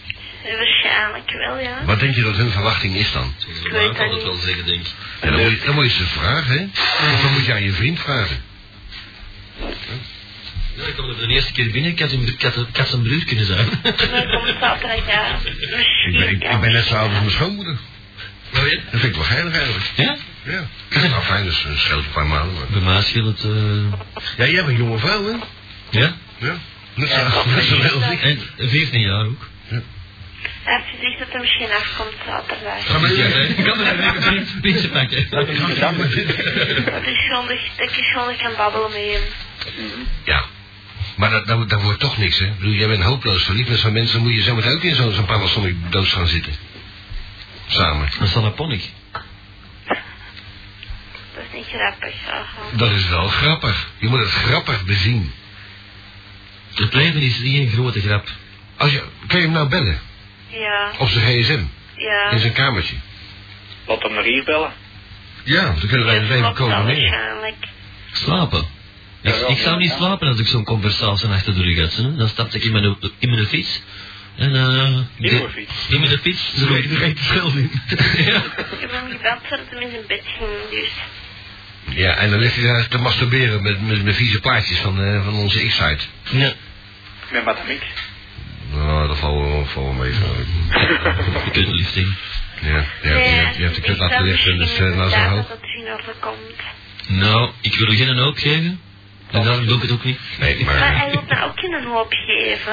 Speaker 6: Waarschijnlijk wel, ja.
Speaker 1: Wat denk je dat hun verwachting is dan?
Speaker 2: Ik weet kan het wel zeggen, denk ik.
Speaker 1: Ja, dan, moet je, dan moet je ze vragen, hè? Of dan moet je aan je vriend vragen.
Speaker 2: Ja, ik kwam er de eerste keer binnen, ik had een, ik had een, ik had een broer kunnen zijn.
Speaker 6: Dan komt zaterdag, ja.
Speaker 1: Ik ben, ik, ik ben net zo oud als mijn schoonmoeder.
Speaker 2: Maar weet-
Speaker 1: Dat vind ik wel geinig eigenlijk.
Speaker 2: Ja?
Speaker 1: Oh, Ja. Nou, fijn, dus eh, scheelt een paar maanden. maar-
Speaker 2: Bij mij scheelt het... eh,
Speaker 1: Ja, jij bent een jonge vrouw, hè?
Speaker 2: ja?
Speaker 1: Ja. Net zo net zo heel dik.
Speaker 2: En 14 jaar ook.
Speaker 6: Hij heeft gezegd dat er misschien afkomt zaterdag.
Speaker 1: Ga maar
Speaker 2: Ja,
Speaker 1: hier.
Speaker 2: ik kan er even een pizza pakken.
Speaker 6: Dat is zondig, dat ik zondig kan babbelen met hem.
Speaker 1: Ja. Maar dat, dat, dat wordt toch niks, hè? Ik bedoel, jij bent hopeloos verliefd met zo'n mensen, dan moet je zometeen ook in zo'n zo'n Panasonic doos gaan zitten. Samen.
Speaker 2: Een salaponic.
Speaker 6: Dat is niet grappig, aha.
Speaker 1: Dat is wel grappig. Je moet het grappig bezien.
Speaker 2: Het leven is geen grote grap.
Speaker 1: Als je, kun je hem nou bellen?
Speaker 6: Ja,
Speaker 1: Op zijn gsm?
Speaker 6: ja.
Speaker 1: In zijn kamertje?
Speaker 4: Laat hem naar hier bellen.
Speaker 1: Ja, dan kunnen wij het
Speaker 6: Ja,
Speaker 1: even
Speaker 6: klopt wel
Speaker 1: combineren.
Speaker 6: waarschijnlijk.
Speaker 2: Slapen. Ik, ik zou niet slapen als ik zo'n conversatie achter de rug had. hè. Dan stapte ik in mijn, in mijn fiets. En, eh
Speaker 4: In uw
Speaker 2: de-
Speaker 4: fiets?
Speaker 2: In mijn fiets.
Speaker 1: Ze weten er echt verschil in.
Speaker 2: Ja.
Speaker 6: Ik heb hem gebeld voordat hij in zijn bed ging, dus...
Speaker 1: Ja, en dan ligt hij daar te masturberen met, met, met vieze plaatjes van, eh, van onze X-site.
Speaker 2: Ja.
Speaker 4: Met mathematiek.
Speaker 1: Nou, dat valt wel, valt wel mee. zo.
Speaker 2: Kutlifting.
Speaker 1: Ja, je hebt, je hebt, je hebt de kut laten liggen, dus eh, nou zo hoog.
Speaker 6: Dat het zien of het komt.
Speaker 2: Nou, ik wil er geen hoop geven. En daarom doe ik het ook niet.
Speaker 1: Nee,
Speaker 6: Maar hij
Speaker 1: maar...
Speaker 6: wil mij ook geen hoop geven.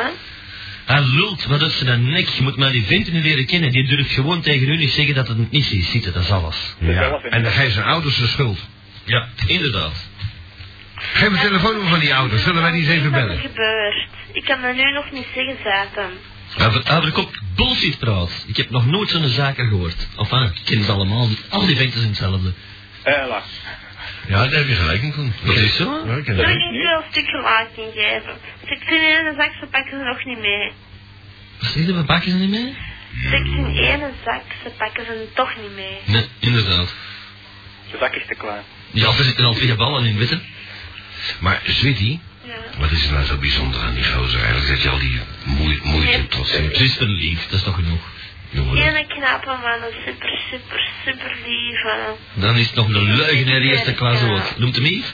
Speaker 2: Hij lult wat uit zijn nek. Je moet maar die venten nu leren kennen. Die durft gewoon tegen u niet zeggen dat het het niet is zitten. Dat is alles.
Speaker 1: Ja. En dan geven zijn ouders de schuld.
Speaker 2: Ja, inderdaad.
Speaker 1: Geef een telefoonnummer van die ouders, zullen wij die eens even
Speaker 6: Wat
Speaker 1: bellen?
Speaker 6: er gebeurt. Ik kan dat nu nog niet zeggen, Zaten.
Speaker 2: Over, over kop ah, bullshit praat. Ik heb nog nooit zo'n zaken gehoord. Of ah, ik ken ze allemaal. Al die venten zijn hetzelfde.
Speaker 4: Hela.
Speaker 1: Ja, daar heb je gelijk in, Koen.
Speaker 2: Dat is zo.
Speaker 1: Ja, ik ken
Speaker 6: Zou
Speaker 1: het.
Speaker 6: je niet wel een stuk gelijk in geven? Zit ze in een zak, ze pakken ze nog niet mee.
Speaker 2: Wat zeg je, we pakken ze niet mee?
Speaker 6: Zit ze in één zak, ze pakken ze toch niet mee.
Speaker 2: Nee, inderdaad.
Speaker 4: De zak is te klein.
Speaker 2: Ja, er zitten al twee ballen in, witte.
Speaker 1: Maar, Zwitty,
Speaker 6: Ja.
Speaker 1: wat is er nou zo bijzonder aan die gozer eigenlijk, dat je al die moe- moeite tot
Speaker 2: Het
Speaker 1: zit?
Speaker 2: is verliefd, dat is toch genoeg.
Speaker 1: Jongen,
Speaker 6: Hele knappe man, een super, super, super lieve.
Speaker 2: Dan is het nog een leugenaar eerste klas ook. Noemt hem Yves?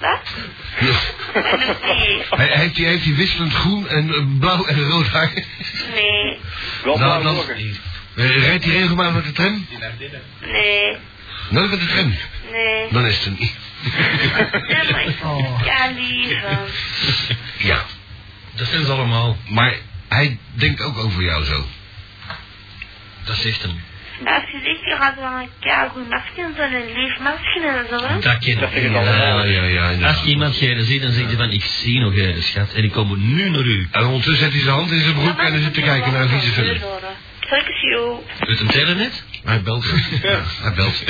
Speaker 6: Wat? En een brief.
Speaker 1: Hij, heeft, hij, heeft hij wisselend groen en eh, blauw en rood haar?
Speaker 6: Nee,
Speaker 4: Wel
Speaker 1: Nou,
Speaker 4: nou,
Speaker 1: dan- Eh, Rijdt hij regelmatig met de tram?
Speaker 6: nee,
Speaker 1: Nooit met de tram.
Speaker 6: nee.
Speaker 1: Dan is het een...
Speaker 6: Ja, maar ik- ja, lieve.
Speaker 1: Ja,
Speaker 2: Dat zijn ze allemaal.
Speaker 1: maar hij denkt ook over jou zo.
Speaker 2: Dat zegt hem.
Speaker 6: Als je zegt, je gaat wel een keigoed masker en zo'n lief masker en zo, hè?
Speaker 2: Dat ken
Speaker 4: Dat zeggen ze
Speaker 1: Ja,
Speaker 4: allemaal.
Speaker 2: ik.
Speaker 1: ja, ja. inderdaad.
Speaker 2: Als je iemand jij ziet, dan zegt hij van, ik zie nog jij, schat. En ik kom nu naar u.
Speaker 1: En ondertussen zet hij zijn hand in zijn broek en hij zit te kijken naar vieze film.
Speaker 6: Thank you.
Speaker 2: Uit hem telenet?
Speaker 1: Hij belt. Ja, hij belt.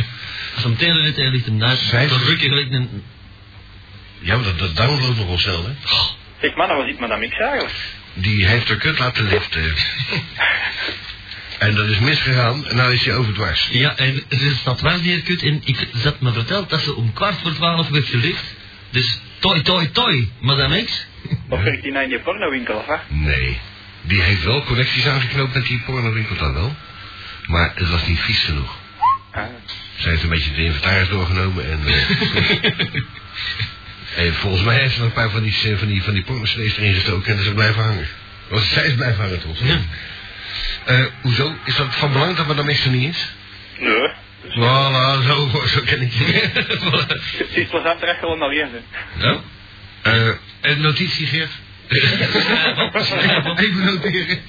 Speaker 2: Als hem telenet, hij ligt hem naast.
Speaker 1: Zij-
Speaker 2: Dan ruk je gelijk een...
Speaker 1: Ja, maar dat, dat downloadt nogal snel, hè?
Speaker 4: Zeg man, dat was iets madame X eigenlijk.
Speaker 1: Die heeft haar kut laten liften. en dat is misgegaan en nou is hij overdwars.
Speaker 2: Ja, en ze staat wel weer kut. En ik zat me verteld dat ze om kwart voor twaalf werd gelicht. Dus toi, toi, toi, madame X.
Speaker 4: Of werkt die nou in die pornowinkel, of wat?
Speaker 1: Nee. Die heeft wel connecties aangeknoopt met die pornowinkel dan wel. Maar het was niet vies genoeg.
Speaker 4: Ah.
Speaker 1: Ze heeft een beetje de inventaris doorgenomen en... eh, en volgens mij heeft ze nog een paar van die, eh, van die, van die porno-cd's erin gestoken en ze blijven hangen. Want zij is blijven hangen, toch?
Speaker 2: Ja.
Speaker 1: Eh, hoezo? Is dat van belang dat madame X er niet is?
Speaker 4: Nee.
Speaker 1: Voilà, zo, zo ken ik je.
Speaker 4: Het is plezant terecht gewoon naar hier, hè.
Speaker 2: Nou,
Speaker 1: Eh, een notitie, Geert. Even noteren.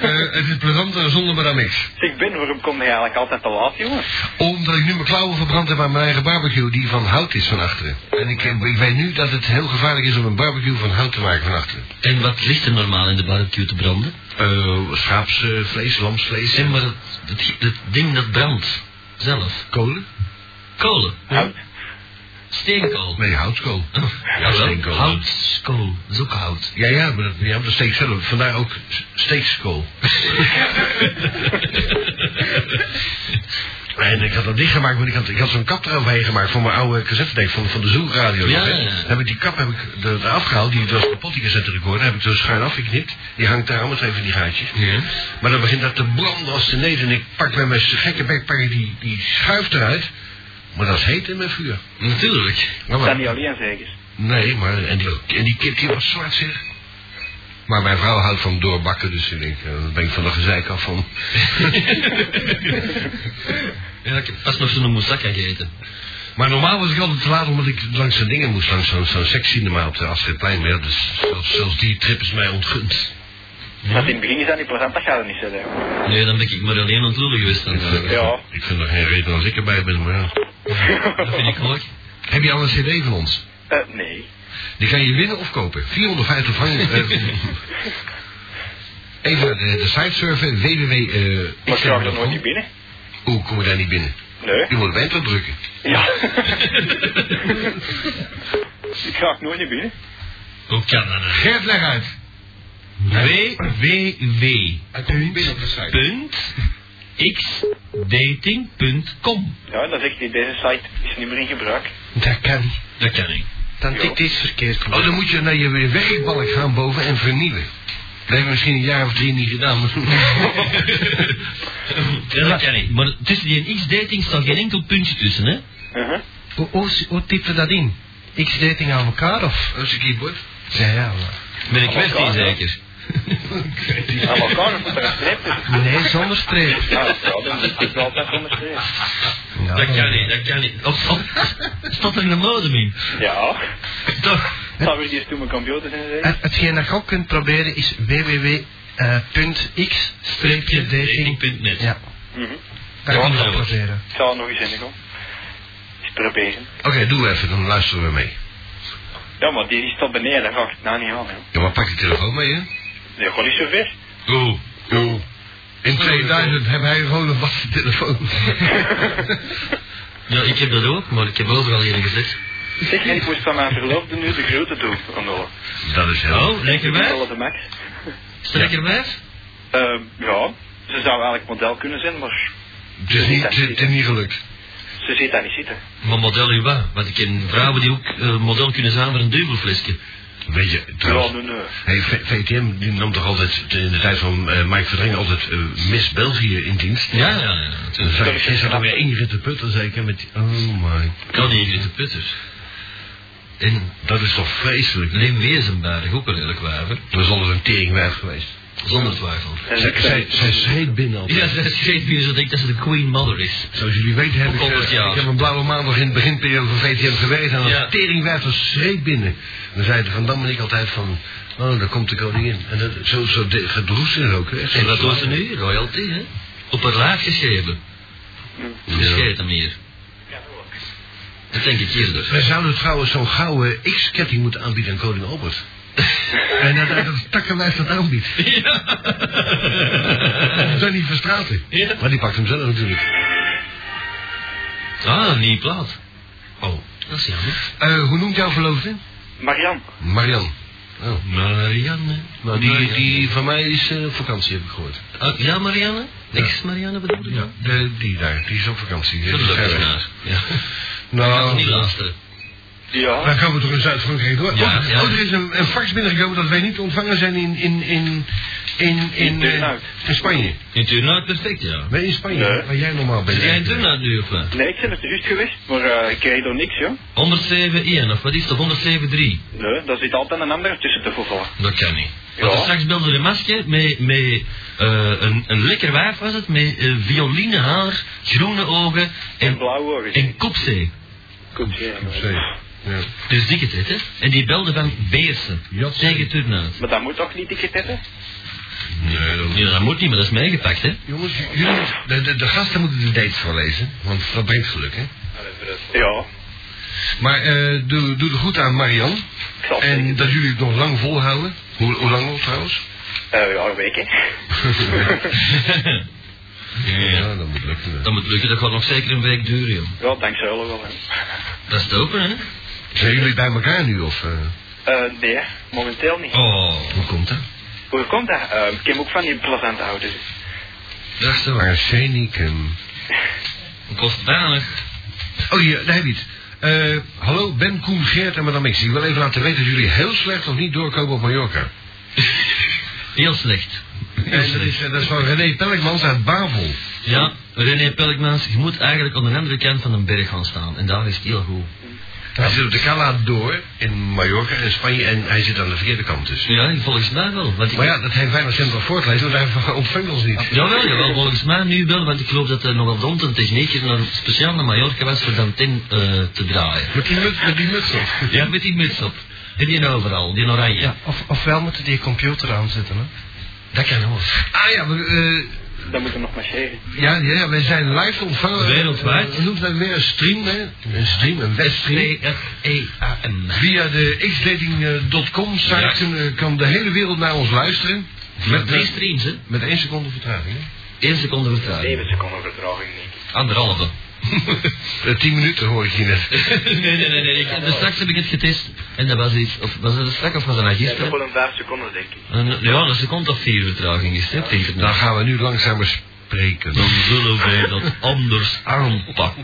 Speaker 1: Eh, het is plezanter zonder madame X.
Speaker 4: Zeg Ben, waarom kom je eigenlijk altijd te laat, jongen?
Speaker 1: Omdat ik nu mijn klauwen verbrand heb aan mijn eigen barbecue die van hout is van achteren. En ik, eh, ik weet nu dat het heel gevaarlijk is om een barbecue van hout te maken van achteren.
Speaker 2: en wat ligt er normaal in de barbecue te branden?
Speaker 1: Eh, schaapsvlees, lamsvlees.
Speaker 2: Zeg maar, het, het, het ding dat brandt. Zelf.
Speaker 1: kolen?
Speaker 2: Kolen.
Speaker 1: Hout?
Speaker 2: Steenkool.
Speaker 1: Nee, houtskool.
Speaker 2: Jawel,
Speaker 1: steenkool.
Speaker 2: Houtskool. Dat is ook hout.
Speaker 1: Ja, ja, maar dat, ja, maar dat steekt zelf. Vandaar ook s- steekskool. En ik had dat dicht gemaakt, want ik had, ik had zo'n kap eroverheen gemaakt van mijn oude cassettedeck van, van de Zoekradio.
Speaker 2: Ja, ja, ja.
Speaker 1: Dan heb ik die kap heb ik er- eraf gehaald, die was kapot, die cassette recorder, heb ik zo schuin afgeknipt. Die hangt daar allemaal twee van die gaatjes.
Speaker 2: Ja.
Speaker 1: Maar dan begint dat te branden als de neet en ik pak met mijn gekke bek pak ik die, die schuif eruit. Maar dat is heet in mijn vuur.
Speaker 2: Natuurlijk.
Speaker 1: Maar
Speaker 3: Dat niet
Speaker 1: maar,
Speaker 3: alleen zeker.
Speaker 1: nee, maar en die, en die kip die was zwart zeg. Maar mijn vrouw houdt van doorbakken, dus ik denk, eh, daar ben ik van de gezeik af van.
Speaker 2: Ja, ik heb pas nog zo'n moussaka gegeten.
Speaker 1: Maar normaal was ik altijd te laat omdat ik langs de dingen moest, langs zo'n zo'n sekscinema op de Astridplein. Maar ja, dus zelfs, zelfs die trip is mij ontgund.
Speaker 3: Want in het begin is dat niet plezant, dat gaat er niet zitten.
Speaker 2: Nee, dan ben ik maar alleen aan het lullen geweest. Dan.
Speaker 3: Ja.
Speaker 1: Ik vind er geen reden als ik erbij ben, maar ja.
Speaker 2: Dat vind ik ook.
Speaker 1: Heb je al een cd van ons?
Speaker 3: Eh, nee.
Speaker 1: Die kan je winnen of kopen. 450 frank. eh, Even eh, de, de site surfen, www. eh,
Speaker 3: Maar ik krijg er nooit
Speaker 1: xm.com.
Speaker 3: niet binnen.
Speaker 1: Hoe kom je daar niet binnen?
Speaker 3: Nee.
Speaker 1: Je moet op enter drukken.
Speaker 3: Ja. ik ga nooit niet binnen.
Speaker 2: Hoe kan dat nou?
Speaker 1: Gert, leg uit.
Speaker 2: www.
Speaker 1: Hij komt niet binnen op de site.
Speaker 2: punt xdating.com.
Speaker 3: Ja, dan zegt hij, deze site is niet meer in gebruik.
Speaker 1: Dat kan.
Speaker 2: Dat ken ik.
Speaker 8: Dan tikt iets verkeerd.
Speaker 1: Oh, dan moet je naar je wegbalk gaan boven en vernieuwen. Dat heb ik misschien een jaar of drie niet gedaan. maar-
Speaker 2: Ja, dat ken ik. Maar tussen die x-dating staat geen enkel puntje tussen, hè?
Speaker 3: Uh-huh.
Speaker 8: Hoe, hoe, hoe typen we dat in? X-dating aan elkaar of?
Speaker 1: Als je keyboard.
Speaker 8: Ja, ja, maar-
Speaker 2: Ben ik
Speaker 3: Aan elkaar,
Speaker 2: kwestie
Speaker 3: ja.
Speaker 2: zeker.
Speaker 3: Aan elkaar moet er een streep tussen.
Speaker 8: Nee, zonder streep.
Speaker 3: Ja, dat is- dat is altijd zonder streep.
Speaker 8: Ja,
Speaker 2: Dat kan niet, dat kan niet. Of, of staat er een modem in?
Speaker 3: Ja.
Speaker 2: Toch?
Speaker 3: Zou weer die eens toen mijn computer zijn zeggen?
Speaker 8: Het, hetgeen dat je ook kunt proberen is eh, www.x-dating.
Speaker 2: Dating.net.
Speaker 8: Ja,
Speaker 3: Mhm.
Speaker 8: dat
Speaker 2: Ja,
Speaker 8: kan je
Speaker 2: dat
Speaker 8: ook
Speaker 2: wordt.
Speaker 8: proberen.
Speaker 3: Ik zal het nog eens in gaan. Eens proberen.
Speaker 1: Oké, doe even, dan luisteren we mee.
Speaker 3: Ja, maar die is tot beneden, dat ga ik het nou niet aan. Hè.
Speaker 1: Ja, maar pak je telefoon mee, hè?
Speaker 3: Nee, gewoon niet zo ver.
Speaker 1: Oeh. Oeh. In 2000 hebben hij gewoon een vaste telefoon.
Speaker 2: Ja, ik heb dat ook, maar ik heb overal hier gezet.
Speaker 3: Zeg, en ik moest van mijn verloofde nu de groeten doen. Andolle.
Speaker 1: dat is heel.
Speaker 2: Oh, lekker wijf?
Speaker 3: Andolle de Max.
Speaker 2: Is dat lekker wijf?
Speaker 3: Eh, ja, ze zou eigenlijk model kunnen zijn, maar
Speaker 1: Het is niet, het is niet gelukt.
Speaker 3: ze zit daar niet zitten.
Speaker 2: Maar model u wat? Want ik ken vrouwen die ook eh, model kunnen zijn voor een dubbelflesje.
Speaker 1: Weet je, trouwens,
Speaker 3: Ja, eh, nee, nee.
Speaker 1: hey, V- VTM die nam toch altijd t- in de tijd van eh, Mike Verdrengen altijd eh, Miss België in dienst?
Speaker 2: Ja, ja, ja.
Speaker 1: Dan
Speaker 2: natuurlijk.
Speaker 1: zag ik gisteren weer Ingrid de Putter zeker met die, oh my,
Speaker 2: Ja, die Ingrid de Putters. En
Speaker 1: dat is toch vreselijk.
Speaker 2: Lim Wezenberg, ook een lelijk wijver.
Speaker 1: Dat is altijd een teringwijf geweest.
Speaker 2: Zonder twijfel.
Speaker 3: En
Speaker 1: Zij,
Speaker 3: ik
Speaker 1: zij, zij schreef binnen al.
Speaker 2: Ja, ze schreef hier zo denk dat ze de Queen Mother is.
Speaker 1: Zoals jullie weten heb ik,
Speaker 2: Ook al het
Speaker 1: eh,
Speaker 2: jaar.
Speaker 1: ik heb een blauwe maandag in de beginperiode van VTM gewerkt. En als
Speaker 2: Ja.
Speaker 1: teringwijf was schreef binnen. Dan zei de Van Dam en ik altijd van, oh daar komt de koningin. En dat, zo, zo de- gedroest is ook. Hè.
Speaker 2: En wat doet ze nu? Royalty, hè? Op haar lijf geschreven. Ze schreef hem hier. Dat denk ik eerder.
Speaker 1: Wij zouden trouwens zo'n gouden X-ketting moeten aanbieden aan koning Albert. en dat hij dat takkenwijf dat aanbiedt. Dat zijn niet verstraten.
Speaker 2: Ja.
Speaker 1: Maar die pakt hem zelf natuurlijk.
Speaker 2: Ah, een nieuwe plaat.
Speaker 1: Oh.
Speaker 2: Dat is jammer.
Speaker 1: Eh, hoe noemt jouw verloofde?
Speaker 3: Marian,
Speaker 1: Marian. Oh.
Speaker 2: Marianne.
Speaker 1: Nou, die, die van mij is eh, op vakantie, heb ik gehoord.
Speaker 2: Ah, ja, Marianne? Niks Marianne bedoel je?
Speaker 1: Ja. De, die daar, die is op vakantie. Die is
Speaker 2: Gelukkig
Speaker 1: ver weg.
Speaker 2: maar. Ja. Gaan ze
Speaker 1: Nou,
Speaker 2: niet luisteren.
Speaker 1: dan
Speaker 3: ja,
Speaker 1: komen we toch in Zuid-Frankrijk door.
Speaker 2: Ja,
Speaker 1: oh,
Speaker 2: ja.
Speaker 1: oh, er is een, een fax binnengekomen dat wij niet ontvangen zijn in, in, in, in, in,
Speaker 3: In
Speaker 1: eh,
Speaker 3: Turnhout.
Speaker 1: in Spanje.
Speaker 2: In Turnhout nou perfect, ja.
Speaker 1: Nee, in Spanje,
Speaker 3: Nee.
Speaker 1: waar jij normaal bent.
Speaker 2: Zit jij in Turnhout nu of wat?
Speaker 3: nee, ik ben het juist geweest, maar eh, ik kreeg door niks, joh.
Speaker 2: 107-1, of wat is dat? 107-3.
Speaker 3: Nee, daar zit altijd een ander tussen te voetballen.
Speaker 2: Dat kan niet.
Speaker 3: Ja.
Speaker 2: Want straks belde de masker met, met eh, een, een lekker wijf was het, met eh violine haar, groene ogen
Speaker 3: En
Speaker 2: en,
Speaker 3: blauwe ogen.
Speaker 2: en kopzee.
Speaker 3: Goed, ja.
Speaker 1: Op zee. Ja.
Speaker 2: Dus dikke tijd, hè? En die belde van Beersen
Speaker 1: Jatse.
Speaker 2: tegen Turnhout.
Speaker 3: Maar dat moet toch niet dikke tetten?
Speaker 1: Nee, dat
Speaker 2: Ja, dat moet niet, maar dat is meegepakt, hè?
Speaker 1: Jongens, j- jullie, moeten- de, de, de gasten moeten de dates voorlezen, want dat brengt geluk, hè?
Speaker 3: Ja,
Speaker 1: Maar eh, doe, doe er goed aan, Marian.
Speaker 3: ik zal het
Speaker 1: En
Speaker 3: zeggen.
Speaker 1: dat jullie het nog lang volhouden. Hoe, hoe lang nog trouwens?
Speaker 3: Eh, ja, een week, hè.
Speaker 2: Ja, ja.
Speaker 1: Ja, dat moet lukken. hè.
Speaker 2: Dat moet lukken, dat gaat nog zeker een week duren, joh.
Speaker 3: Ja, dankzij jullie wel. hè.
Speaker 2: Dat is doper, hè?
Speaker 1: Zijn jullie bij elkaar nu of eh,
Speaker 3: Eh, nee, momenteel niet.
Speaker 2: Oh,
Speaker 1: hoe komt dat?
Speaker 3: Hoe komt dat? Eh, ik heb ook van die plezante ouders.
Speaker 2: dat is zo.
Speaker 1: Arsenic en...
Speaker 2: Dat kost weinig.
Speaker 1: Oh, hier, daar heb je het. Eh, hallo, Ben, Koen, Geert en Madame X. Ik wil even laten weten dat jullie heel slecht of niet doorkomen op Mallorca.
Speaker 2: Heel slecht. Heel
Speaker 1: En dat
Speaker 2: slecht.
Speaker 1: is, eh, dat is van René Pelkmans uit Bavel.
Speaker 2: Ja, René Pelkmans, je moet eigenlijk aan de andere kant van een berg gaan staan. En daar is het heel goed.
Speaker 1: Hij zit op de Cala door in Mallorca in Spanje en hij zit aan de verkeerde kant dus.
Speaker 2: Ja, volgens mij wel. Want ik...
Speaker 1: Maar ja, dat heeft weinig zin van voortlezen, want hij ontvangt ons niet.
Speaker 2: Jawel, jawel, volgens mij nu wel, want ik geloof dat er nogal rond een technieker naar, speciaal naar Mallorca was voor de antenne eh, te draaien.
Speaker 1: Met die muts, met die muts op.
Speaker 2: Ja, met die muts op. En die overal, die oranje.
Speaker 8: Ja, of, ofwel moeten die computer aanzetten, hè.
Speaker 2: dat kan hoor.
Speaker 1: Ah ja, we, eh,
Speaker 3: Dat moet er nog maar zeggen.
Speaker 1: ja, ja, ja, wij zijn live te ontvangen.
Speaker 2: Wereldwijd.
Speaker 1: Eh, We noemen dat weer een stream, hè? Een stream, een webstream.
Speaker 2: E T-R-E-A-M.
Speaker 1: Via de xdating.com site
Speaker 2: Ja.
Speaker 1: kunnen- kan de hele wereld naar ons luisteren.
Speaker 2: Met
Speaker 1: Met,
Speaker 2: twee
Speaker 1: eh,
Speaker 2: streams, hè?
Speaker 1: met één seconde vertraging. hè.
Speaker 2: Eén seconde vertraging.
Speaker 4: seconden vertraging niet.
Speaker 2: Anderhalve.
Speaker 1: Eh, Tien minuten hoor ik hier net.
Speaker 2: nee, nee, nee, nee. Ik, dus straks heb ik het getest. En dat was iets. Of was het een strak of was het een
Speaker 4: Ja,
Speaker 2: gisteren?
Speaker 4: een vijf seconden denk ik.
Speaker 2: Een, ja, een seconde of vier vertraging is het, hè, op het internet.
Speaker 1: Dan gaan we nu langzaam bespreken.
Speaker 2: Dan zullen wij dat anders aanpakken.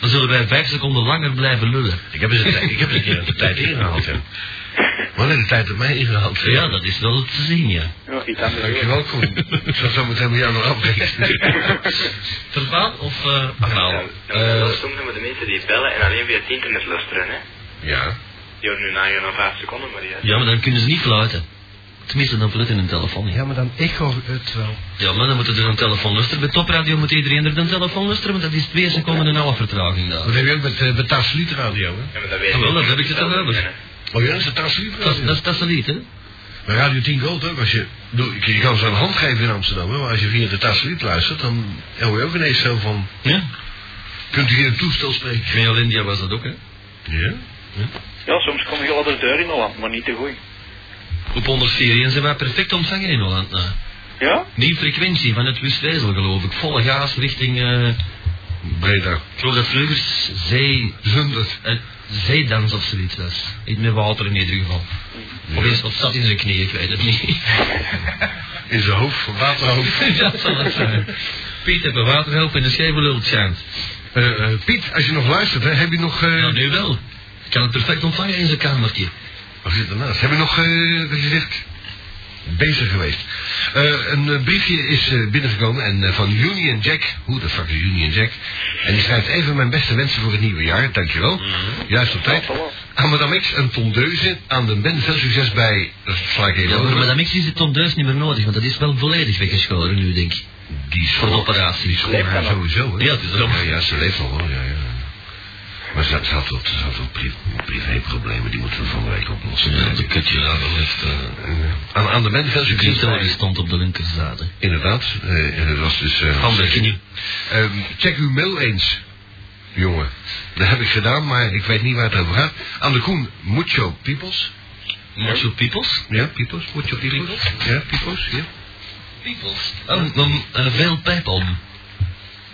Speaker 2: Dan zullen wij vijf seconden langer blijven lullen.
Speaker 1: Ik heb eens een, tijd- ik heb eens een keer een tijd ingehaald, hè. Wanneer de tijd op mij ingehaald hè.
Speaker 2: Ja, dat is wel te zien, ja.
Speaker 3: Ja, iets anders.
Speaker 1: Dankjewel, Koen. Ik zal zo meteen met jou nog afrekenen.
Speaker 2: Verbaal of eh anaal?
Speaker 1: eh,
Speaker 4: soms hebben de mensen die bellen en alleen via het internet luisteren, hè.
Speaker 1: ja.
Speaker 4: Die horen nu na je nog vijf seconden, maar ja.
Speaker 2: Eh, ja, maar dan kunnen ze niet fluiten. Tenminste, dan fluiten een telefoon. Ja.
Speaker 8: Ja, maar dan echo het wel.
Speaker 2: ja, maar dan moeten er dus een telefoon luisteren. Bij topradio moet iedereen er een telefoon luisteren, want dat is twee seconden en een half vertraging daar.
Speaker 1: Dat heb je ook met, eh met Tasseliet Radio, hè?
Speaker 4: Ja, maar dat weet
Speaker 2: Ah, wel, dat heb ik het al over.
Speaker 1: Oh ja, is het Tasseliet
Speaker 2: Dat,
Speaker 1: Radio?
Speaker 2: is- dat is Tasseliet, hè?
Speaker 1: Bij Radio 10 Gold ook. Als je, bedoel, je kan ze een hand geven in Amsterdam, hè, maar als je via de Tasseliet luistert, dan hoor je ook ineens zo van...
Speaker 2: Ja.
Speaker 1: Kunt u hier een toestel spreken?
Speaker 2: Met Olindia was dat ook, hè?
Speaker 1: Ja.
Speaker 3: Ja, soms kom je wel de deur in Holland, maar niet te goed.
Speaker 2: Op 104 zijn wij perfect ontvangen in Holland. Nou.
Speaker 3: Ja?
Speaker 2: Die frequentie van het Wustwezel, geloof ik. Volle gaas richting, eh,
Speaker 1: Breda.
Speaker 2: ik geloof dat vroeger zee,
Speaker 1: Zundert.
Speaker 2: eh, zeedans of zoiets was. Iets met water in ieder geval. Of, is, of zat in zijn knieën, ik weet het niet.
Speaker 1: In zijn hoofd, van waterhoofd.
Speaker 2: dat zal het zijn. Piet heeft een waterhelp in de scheve lult schijnt.
Speaker 1: Eh, eh, Piet, als je nog luistert, hè, heb je nog... eh,
Speaker 2: Nou, nu wel. Ik kan het perfect ontvangen in zijn kamertje.
Speaker 1: Wat zit ernaast? Hebben we nog, eh wat je zegt, bezig geweest. Eh, een eh, briefje is eh, binnengekomen en, eh, van Union Jack. Hoe de fuck is Union Jack? En die schrijft even mijn beste wensen voor het nieuwe jaar. Dankjewel.
Speaker 2: Mhm.
Speaker 1: Juist op tijd. Aan Madame X een tondeuze. Aan de Ben veel succes bij... Dat sla ik even
Speaker 2: Ja,
Speaker 1: over.
Speaker 2: maar dat mixie is het tondeus niet meer nodig, want dat is wel volledig weggeschoren nu, denk ik.
Speaker 1: Die
Speaker 2: Voor de
Speaker 1: school, die
Speaker 2: operatie.
Speaker 1: school haar sowieso, hè?
Speaker 2: Ja, het is wel-
Speaker 1: ja, ja, ze leeft nog wel, ja, ja. Maar ze, ze had wel, ze had wel pri- privéproblemen, die moeten we van de week oplossen.
Speaker 2: Ja, dat kutje, ja, dat
Speaker 1: ligt...
Speaker 2: eh,
Speaker 1: aan, aan de Ben veel
Speaker 2: De
Speaker 1: succes
Speaker 2: Christel
Speaker 1: bij...
Speaker 2: die stond op de linkerzijde.
Speaker 1: Inderdaad, eh, en dat was dus... eh,
Speaker 2: Van de knie.
Speaker 1: Ehm, check uw mail eens, jongen. Dat heb ik gedaan, maar ik weet niet waar het over gaat. Aan de Koen, Mucho Peoples.
Speaker 2: Macho Peoples?
Speaker 1: Ja, Peoples, Mucho Peoples. Ja, Peoples, ja.
Speaker 2: Peoples. Oh, dan eh, veel pijp om.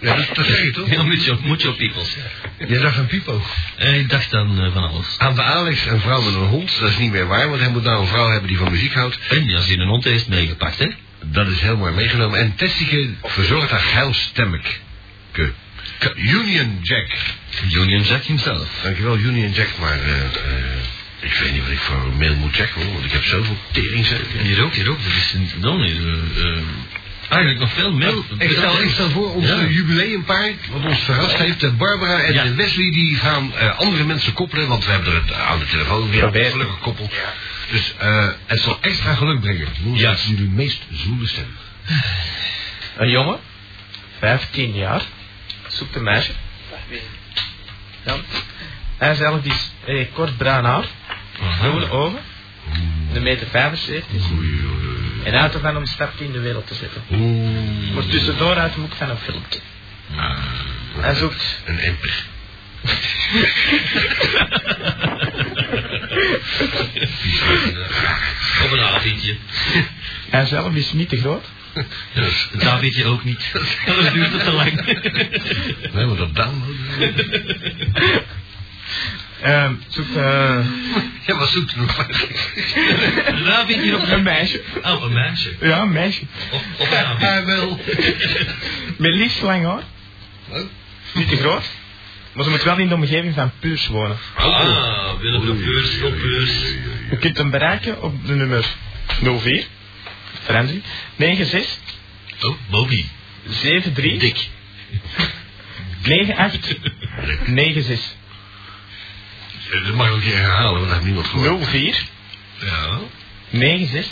Speaker 1: Ja, dat, dat zeg je toch?
Speaker 2: Ja, mucho, mucho peoples.
Speaker 1: Jij dacht aan Pipo.
Speaker 2: En ik dacht dan eh, van alles.
Speaker 1: Aan de Alex, een vrouw met een hond, dat is niet meer waar, want hij moet nou een vrouw hebben die van muziek houdt.
Speaker 2: En die is in een hond heeft meegepakt, hè?
Speaker 1: Dat is heel mooi meegenomen. En Tessike verzorgt haar geil stemmetje. Union Jack.
Speaker 2: Union Jack himself.
Speaker 1: Dankjewel, Union Jack, maar eh, eh, ik weet niet wat ik voor een mail moet checken, hoor, want ik heb zoveel teringzeuken.
Speaker 2: Hier ook, hier ook. Dat is een dan is, eh, eh, eigenlijk nog veel meer.
Speaker 1: Ik stel, ik stel voor ons
Speaker 2: Ja.
Speaker 1: eh, jubileumpaar, wat ons verrast heeft, eh, Barbara en
Speaker 2: Ja.
Speaker 1: eh, Wesley, die gaan eh, andere mensen koppelen, want we hebben er het aan de telefoon weer
Speaker 5: Probeer.
Speaker 1: gelukkig gekoppeld. Dus eh, het zal extra geluk brengen.
Speaker 2: Ja.
Speaker 1: Ja. Dat is jullie meest zwoele stem.
Speaker 5: Een jongen, 15 jaar, zoekt een meisje. Ja. Hij is eigenlijk iets, eh, kort bruin haar, groene ogen, een meter 75
Speaker 1: Oei, oei, oei.
Speaker 5: en uit ervan om een stapje in de wereld te zetten.
Speaker 1: Oeh.
Speaker 5: Maar tussendoor uit de hoek van een filmpje. Hij zoekt
Speaker 1: Ah, Een emper.
Speaker 2: Op een avondje.
Speaker 5: Hij zelf is niet te groot.
Speaker 2: Dus dat weet je ook niet. Anders duurt het te lang.
Speaker 1: Nee, maar dat dan.
Speaker 5: Ehm, zoek eh,
Speaker 1: Ja, wat zoekt u nog
Speaker 2: Daar weet je nog
Speaker 5: een meisje.
Speaker 2: Oh, een meisje.
Speaker 5: Ja, een meisje.
Speaker 2: Of, of een
Speaker 1: Hij wil.
Speaker 5: Met liefst lang hoor.
Speaker 1: Wat?
Speaker 5: Niet te groot. Maar ze moet wel in de omgeving van Puurs wonen.
Speaker 2: Ah, Willem de Beurs, op Beurs.
Speaker 5: Je kunt hem bereiken op de nummer 04. Fransie. 96
Speaker 2: Oh, Bobby.
Speaker 5: 73
Speaker 2: Dik.
Speaker 5: 98 96
Speaker 1: Eh, Dat mag ik ook niet herhalen, want dat heeft niemand gehoord.
Speaker 5: 04
Speaker 1: Ja.
Speaker 5: 96
Speaker 1: 9, 6,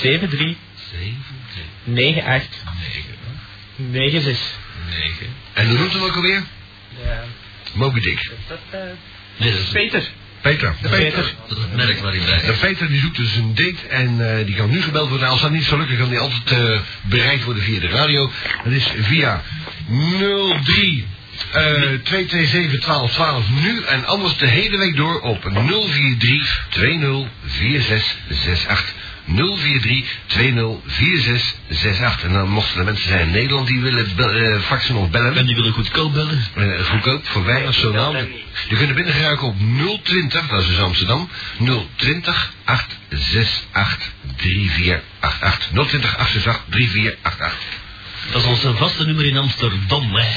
Speaker 5: 73
Speaker 2: 7,
Speaker 5: 98
Speaker 1: 9,
Speaker 5: 96.
Speaker 1: 9. En hoe noemt hem ook alweer? Moby Dick.
Speaker 2: Nee, dat is
Speaker 5: Peter.
Speaker 1: Peter.
Speaker 5: Peter.
Speaker 2: dat is het merk waar ik bij
Speaker 1: De Peter die zoekt dus een date en eh, die kan nu gebeld worden. Als dat niet zo lukt, dan kan die altijd eh, bereikt worden via de radio. Dat is via 03 eh 227 1212 nu en anders de hele week door op 043 20 4668. 043 20 4668. En dan mochten er mensen zijn in Nederland die willen be- eh, faxen of bellen.
Speaker 2: En die willen goedkoop bellen.
Speaker 1: Eh, goedkoop voor weinig zo nauw. Je kunt er binnen geraken op 020, dat is dus Amsterdam, 020 868 3488. 020 868 3488.
Speaker 2: Dat is onze vaste nummer in Amsterdam, hè.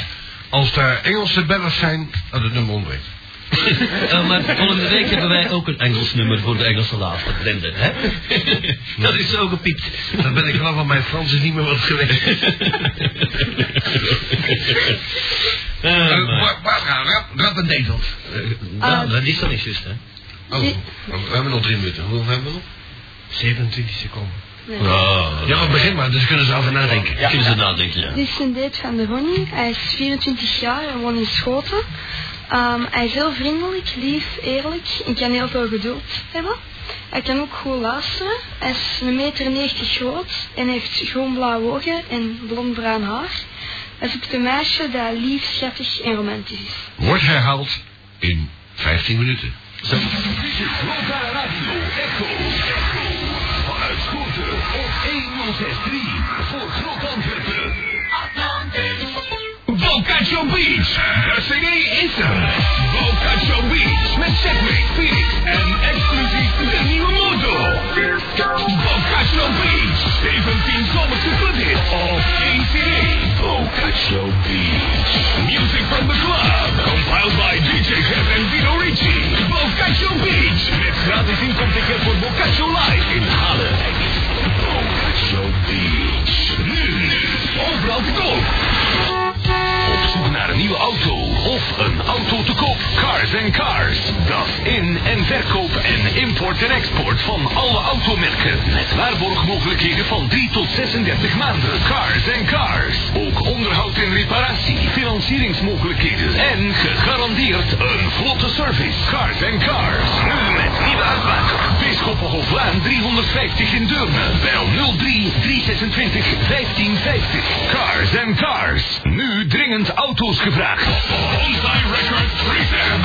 Speaker 1: Als daar Engelse bellers zijn, dan het nummer onderweg.
Speaker 2: Eh, maar volgende week hebben wij ook een Engels nummer voor de Engelse laatste, Brendan, hè. dat is zo gepiept.
Speaker 1: Dan ben ik wel van mijn Frans is niet meer wat geweest.
Speaker 2: Eh,
Speaker 1: Eh,
Speaker 2: maar-
Speaker 1: Bar- Barbara, rap, rap een date op.
Speaker 2: Nou, dat is dan niet juist, hè.
Speaker 1: Oh, we hebben nog drie minuten. Hoeveel hebben we nog? 27 seconden.
Speaker 6: Nee.
Speaker 2: Oh,
Speaker 1: Ja, maar begin maar, dus kunnen ze over nadenken.
Speaker 2: ja. Kunnen ze nadenken, ja.
Speaker 6: Dit is een date van de Ronnie. Hij is 24 jaar en woont in Schoten. Ehm, hij is heel vriendelijk, lief, eerlijk en kan heel veel geduld hebben. Hij kan ook goed luisteren. Hij is 1,90 meter groot en heeft groen blauwe ogen en blond-bruin haar. Hij zoekt een meisje dat lief, schattig en romantisch is.
Speaker 1: Wordt herhaald in 15 minuten.
Speaker 9: Bocacho Beach. De CD is er. Bocacho Beach met Segway, Phoenix en exclusief de nieuwe motor. Bocacho Beach. 17 zomerse clubhits op één CD. Bocacho Beach. Music from the club. Compiled by DJ Kev en Vito Ricci. Bocacho Beach. Met gratis inkomticket voor Bocacho Live in Halle. Bocacho Beach. Nu, nu. Overal te koop. Op zoek naar een nieuwe auto of een auto te koop. Cars and Cars. Dat in- en verkoop en import en export van alle automerken. Met waarborgmogelijkheden van 3 tot 36 maanden. Cars and Cars. Ook onderhoud en reparatie, financieringsmogelijkheden en gegarandeerd een vlotte service. Cars and Cars. Nu met nieuwe uitmaak. Bisschoppenhoflaan 350 in Deurne. Bel 03 326 1550. Cars and Cars. Nu dringend auto's gevraagd. Bonsai Records presents